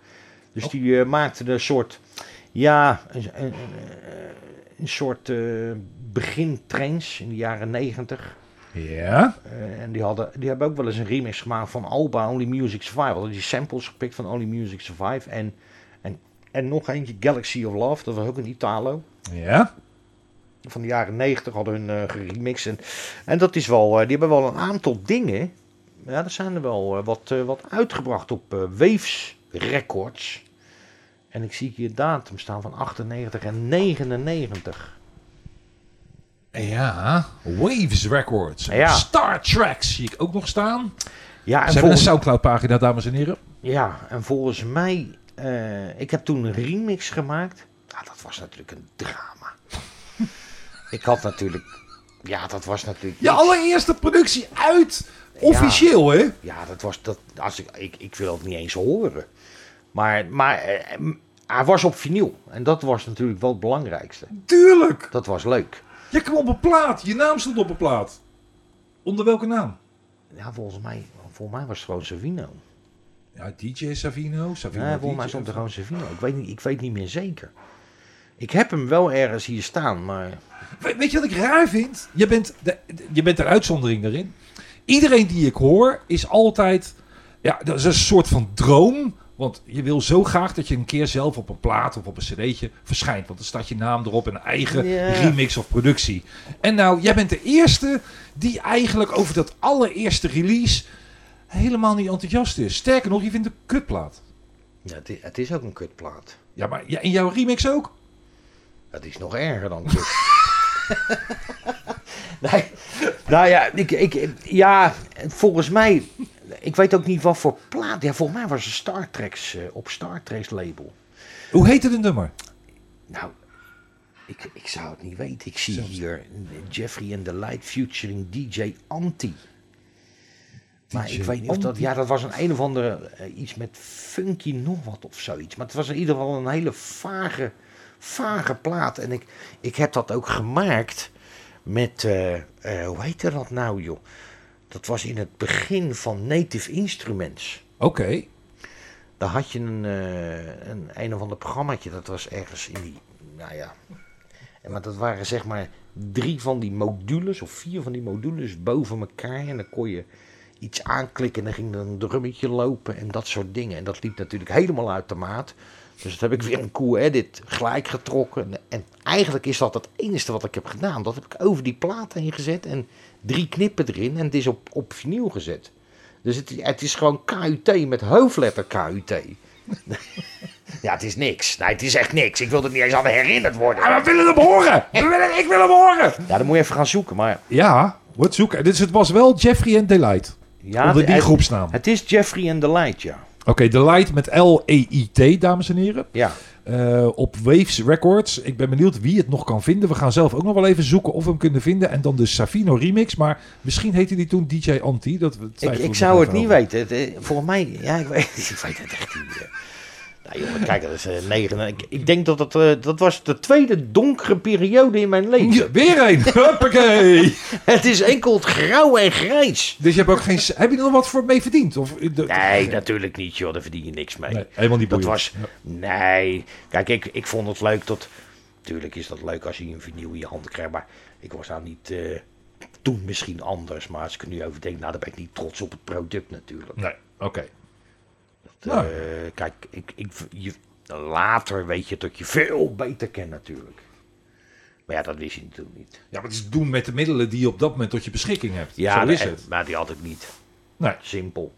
[SPEAKER 3] Dus die eh, maakten een soort, ja, een, een, een- een soort eh begintrends in de jaren negentig.
[SPEAKER 2] Ja.
[SPEAKER 3] Eh, en die, hadden, die hebben ook wel eens een remix gemaakt van Alba, Only Music Survive. Hadden die samples gepikt van Only Music Survive. En, en, en nog eentje, Galaxy of Love, dat was ook een Italo.
[SPEAKER 2] Ja.
[SPEAKER 3] Van de jaren negentig hadden hun eh geremixed. En, en dat is wel, eh, die hebben wel een aantal dingen. Ja, er zijn er wel eh, wat, eh, wat uitgebracht op eh, Waves Records. En ik zie hier datum staan van 98 en 99.
[SPEAKER 2] Ja. Waves Records.
[SPEAKER 3] Ja.
[SPEAKER 2] Star Tracks zie ik ook nog staan.
[SPEAKER 3] Ja, en
[SPEAKER 2] Ze hebben een
[SPEAKER 3] volgens,
[SPEAKER 2] Soundcloud pagina, dames en heren.
[SPEAKER 3] ja, en volgens mij, eh, ik heb toen een remix gemaakt. Ja, dat was natuurlijk een drama. ik had natuurlijk, ja, dat was natuurlijk.
[SPEAKER 2] Je
[SPEAKER 3] niks.
[SPEAKER 2] allereerste productie uit. Officieel, hè?
[SPEAKER 3] Ja, dat was dat. Als ik, ik, ik wil het niet eens horen. Maar, maar eh, m- hij was op vinyl. En dat was natuurlijk wel het belangrijkste.
[SPEAKER 2] Tuurlijk.
[SPEAKER 3] Dat was leuk.
[SPEAKER 2] Je kwam op een plaat. Je naam stond op een plaat. Onder welke naam?
[SPEAKER 3] Ja, volgens mij, volgens mij was het gewoon Savino.
[SPEAKER 2] Ja, DJ Savino. Savino
[SPEAKER 3] Nee,
[SPEAKER 2] DJ.
[SPEAKER 3] volgens mij stond er gewoon Savino. Ik weet, niet, ik weet niet meer zeker. Ik heb hem wel ergens hier staan, maar...
[SPEAKER 2] We- weet je wat ik raar vind? Je bent, de, de- je bent een uitzondering daarin. Iedereen die ik hoor is altijd... Ja, dat is een soort van droom. Want je wil zo graag dat je een keer zelf op een plaat of op een cd'tje verschijnt. Want dan staat je naam erop en een eigen
[SPEAKER 3] Ja.
[SPEAKER 2] remix of productie. En nou, jij bent de eerste die eigenlijk over dat allereerste release helemaal niet enthousiast is. Sterker nog, je vindt een kutplaat.
[SPEAKER 3] Ja, het, i- het is ook een kutplaat.
[SPEAKER 2] Ja, maar ja, in jouw remix ook?
[SPEAKER 3] Dat is nog erger dan kut. nee, nou ja, ik, ik, ja, volgens mij... Ik weet ook niet wat voor plaat... Ja, volgens mij was het Star Trek's, eh, op Star Trek's label.
[SPEAKER 2] Hoe heette het nummer?
[SPEAKER 3] Nou, ik, ik zou het niet weten. Ik zie hier Jeffrey and the Light featuring DJ Anti. Maar
[SPEAKER 2] DJ
[SPEAKER 3] ik weet niet of dat...
[SPEAKER 2] Anti?
[SPEAKER 3] Ja, dat was een een of andere... eh, iets met funky nog wat of zoiets. Maar het was in ieder geval een hele vage, vage plaat. En ik, ik heb dat ook gemaakt met... eh, eh, hoe heette dat nou, joh? Dat was in het begin van Native Instruments.
[SPEAKER 2] Oké.
[SPEAKER 3] Daar had je een, eh, een een of ander programmaatje, dat was ergens in die, nou ja. En, maar dat waren zeg maar drie van die modules, of vier van die modules boven elkaar. En dan kon je iets aanklikken en dan ging er een drummetje lopen en dat soort dingen. En dat liep natuurlijk helemaal uit de maat. Dus dat heb ik weer een cool edit gelijk getrokken. En, en eigenlijk is dat het enige wat ik heb gedaan. Dat heb ik over die plaat heen gezet en drie knippen erin. En het is op, op vinyl gezet. Dus het, het is gewoon KUT met hoofdletter KUT. ja, het is niks. Nee, het is echt niks. Ik wil er niet eens aan herinnerd worden.
[SPEAKER 2] Ah, we willen hem horen! We willen, ik wil hem horen!
[SPEAKER 3] Ja, dan moet je even gaan zoeken. Maar
[SPEAKER 2] Ja, wordt zoeken. Dus het was wel Jeffrey en Delight.
[SPEAKER 3] ja,
[SPEAKER 2] Onder die
[SPEAKER 3] het,
[SPEAKER 2] groepsnaam.
[SPEAKER 3] Het is Jeffrey en the Light, ja.
[SPEAKER 2] Oké, Delight met L-E-I-T, dames en heren.
[SPEAKER 3] Ja,
[SPEAKER 2] Eh, op Waves Records. Ik ben benieuwd wie het nog kan vinden. We gaan zelf ook nog wel even zoeken of we hem kunnen vinden. En dan de Savino remix. Maar misschien heette die toen DJ Anti. Dat we
[SPEAKER 3] ik,
[SPEAKER 2] twijfelen
[SPEAKER 3] ik
[SPEAKER 2] nog
[SPEAKER 3] zou het
[SPEAKER 2] even
[SPEAKER 3] niet
[SPEAKER 2] over.
[SPEAKER 3] weten. Het, eh, volgens mij, ja, ik weet, ik weet het echt niet meer. Nou jongen, kijk, dat is eh, negen. Ik, ik denk dat dat, eh, dat was de tweede donkere periode in mijn leven.
[SPEAKER 2] Ja, weer een! Huppakee!
[SPEAKER 3] Het is enkel grauw en grijs.
[SPEAKER 2] dus je hebt ook geen... Heb je er nog wat voor mee verdiend? Of, eh,
[SPEAKER 3] Nee, natuurlijk niet, joh. Daar verdien je niks mee.
[SPEAKER 2] Nee, helemaal niet
[SPEAKER 3] Dat
[SPEAKER 2] boeiend.
[SPEAKER 3] was. Nee. Kijk, ik, ik vond het leuk dat. Tuurlijk is dat leuk als je een vinyl in je hand krijgt. Maar ik was nou niet. eh, toen misschien anders. Maar als ik er nu over denk, nou, dan ben ik niet trots op het product natuurlijk.
[SPEAKER 2] Nee, oké.
[SPEAKER 3] echt. eh, kijk, ik, ik, je, later weet je dat je veel beter kent natuurlijk. Maar ja, dat wist je toen niet.
[SPEAKER 2] Ja, maar het is doen met de middelen die je op dat moment tot je beschikking hebt.
[SPEAKER 3] Ja,
[SPEAKER 2] Zo is
[SPEAKER 3] en-
[SPEAKER 2] het.
[SPEAKER 3] maar die had ik niet.
[SPEAKER 2] Nee.
[SPEAKER 3] Simpel.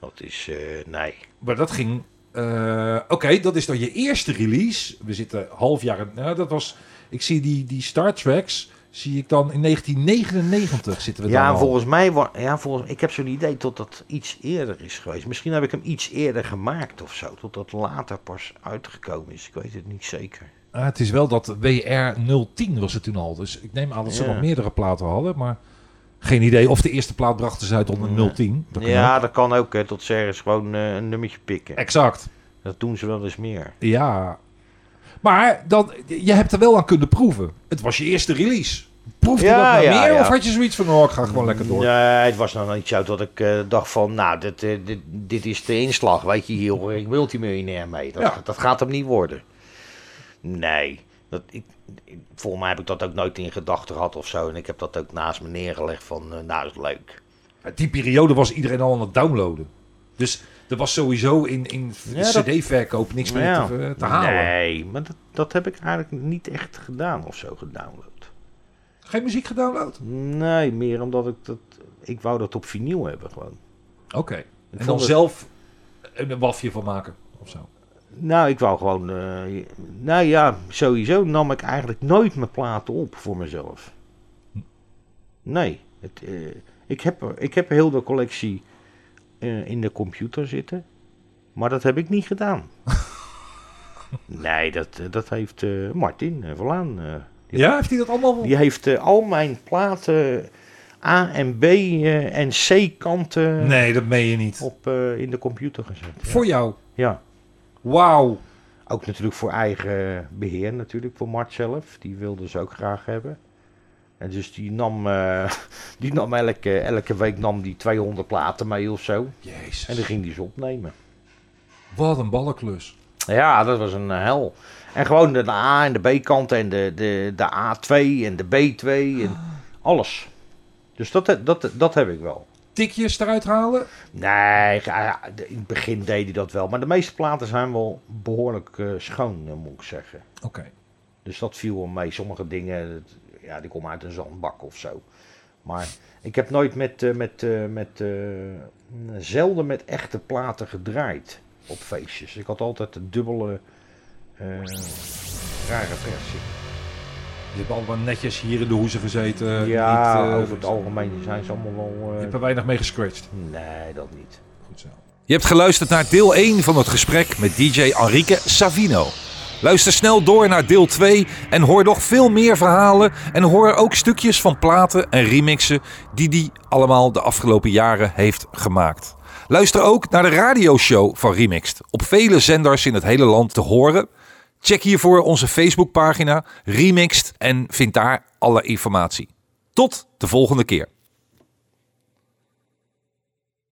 [SPEAKER 3] Dat is, eh, nee.
[SPEAKER 2] Maar dat ging... eh, Oké, dat is dan je eerste release. We zitten half jaar... Nou, dat was... Ik zie die, die Star Treks... Zie ik dan in 1999 zitten we dan
[SPEAKER 3] Ja,
[SPEAKER 2] al.
[SPEAKER 3] volgens mij, wa- ja, volgens, ik heb zo'n idee dat dat iets eerder is geweest. Misschien heb ik hem iets eerder gemaakt of zo. Tot dat later pas uitgekomen is. Ik weet het niet zeker.
[SPEAKER 2] Ah, het is wel dat WR 010 was het toen al. Dus ik neem aan dat ze
[SPEAKER 3] Ja.
[SPEAKER 2] nog meerdere platen hadden. Maar geen idee of de eerste plaat brachten ze uit onder 010. Dat kan
[SPEAKER 3] ja,
[SPEAKER 2] ook.
[SPEAKER 3] dat kan ook, hè. Tot ze ergens gewoon eh, een nummertje pikken.
[SPEAKER 2] exact.
[SPEAKER 3] Dat doen ze wel eens meer.
[SPEAKER 2] Ja. Maar dan, je hebt er wel aan kunnen proeven. Het was je eerste release. Proefde
[SPEAKER 3] Ja,
[SPEAKER 2] je dat nou
[SPEAKER 3] ja,
[SPEAKER 2] meer
[SPEAKER 3] ja.
[SPEAKER 2] of had je zoiets van... Oh, ik ga gewoon lekker door.
[SPEAKER 3] Nee, het was nou niet zo dat ik eh, dacht van, nou, dit, eh, dit, dit is de inslag. Weet je, hier word ik multimiljonair mee. Dat,
[SPEAKER 2] Ja.
[SPEAKER 3] dat gaat hem niet worden. Nee. Dat, ik, ik- volgens mij heb ik dat ook nooit in gedachten gehad of zo. En ik heb dat ook naast me neergelegd van, eh, nou, is leuk.
[SPEAKER 2] Die periode was iedereen al aan het downloaden. Dus er was sowieso in, in
[SPEAKER 3] Ja, dat-
[SPEAKER 2] cd-verkoop niks meer
[SPEAKER 3] Ja.
[SPEAKER 2] te, te halen.
[SPEAKER 3] Nee, maar dat, dat heb ik eigenlijk niet echt gedaan of zo gedownload.
[SPEAKER 2] Geen muziek gedownload?
[SPEAKER 3] Nee, meer omdat ik dat... Ik wou dat op vinyl hebben gewoon.
[SPEAKER 2] Oké. En
[SPEAKER 3] vond
[SPEAKER 2] dan
[SPEAKER 3] het-
[SPEAKER 2] zelf een wafje van maken of zo.
[SPEAKER 3] Nou, ik wou gewoon... eh, nou ja, sowieso nam ik eigenlijk nooit mijn platen op voor mezelf. Nee. Het, eh, ik, heb, er- ik heb heel de collectie eh, in de computer zitten. Maar dat heb ik niet gedaan. nee, dat, eh, dat heeft eh, Martin eh, Verlaan... eh, die
[SPEAKER 2] Ja, heeft hij dat allemaal?
[SPEAKER 3] Die heeft eh, al mijn platen A en B eh, en C kanten
[SPEAKER 2] Nee, dat meen je niet.
[SPEAKER 3] op, eh, in de computer gezet. Ja.
[SPEAKER 2] Voor jou.
[SPEAKER 3] Ja.
[SPEAKER 2] Wauw.
[SPEAKER 3] Ook natuurlijk voor eigen beheer natuurlijk, voor Mart zelf. Die wilde ze ook graag hebben. En dus die nam, eh, die nam elke, elke week nam die 200 platen mee of zo.
[SPEAKER 2] Jezus.
[SPEAKER 3] En dan ging die ze opnemen.
[SPEAKER 2] Wat een ballenklus.
[SPEAKER 3] Ja, dat was een hel. En gewoon de, de A en de B kanten en de, de, de A2 en de B2 en alles. Dus dat, dat, dat heb ik wel.
[SPEAKER 2] Tikjes eruit halen.
[SPEAKER 3] Nee, ja, ja, in het begin deed hij dat wel. Maar de meeste platen zijn wel behoorlijk eh, schoon, eh, moet ik zeggen.
[SPEAKER 2] Oké.
[SPEAKER 3] Dus dat viel wel mee. Sommige dingen, dat- ja, die komen uit een zandbak of zo. Maar ik heb nooit met, eh, met, eh, met eh, zelden met echte platen gedraaid op feestjes. Ik had altijd de dubbele eh, rare versie.
[SPEAKER 2] Je hebt allemaal netjes hier in de hoezen gezeten.
[SPEAKER 3] ja,
[SPEAKER 2] Niet, eh,
[SPEAKER 3] over het algemeen zijn ze allemaal wel...
[SPEAKER 2] Je
[SPEAKER 3] eh,
[SPEAKER 2] hebt er weinig mee gescratcht.
[SPEAKER 3] nee, dat niet.
[SPEAKER 2] Goed zo.
[SPEAKER 4] Je hebt geluisterd naar deel 1 van het gesprek met DJ Enrique Savino. Luister snel door naar deel 2 en hoor nog veel meer verhalen. En hoor ook stukjes van platen en remixen die hij allemaal de afgelopen jaren heeft gemaakt. Luister ook naar de radioshow van Remixed. Op vele zenders in het hele land te horen. Check hiervoor onze Facebookpagina Remixed en vind daar alle informatie. Tot de volgende keer.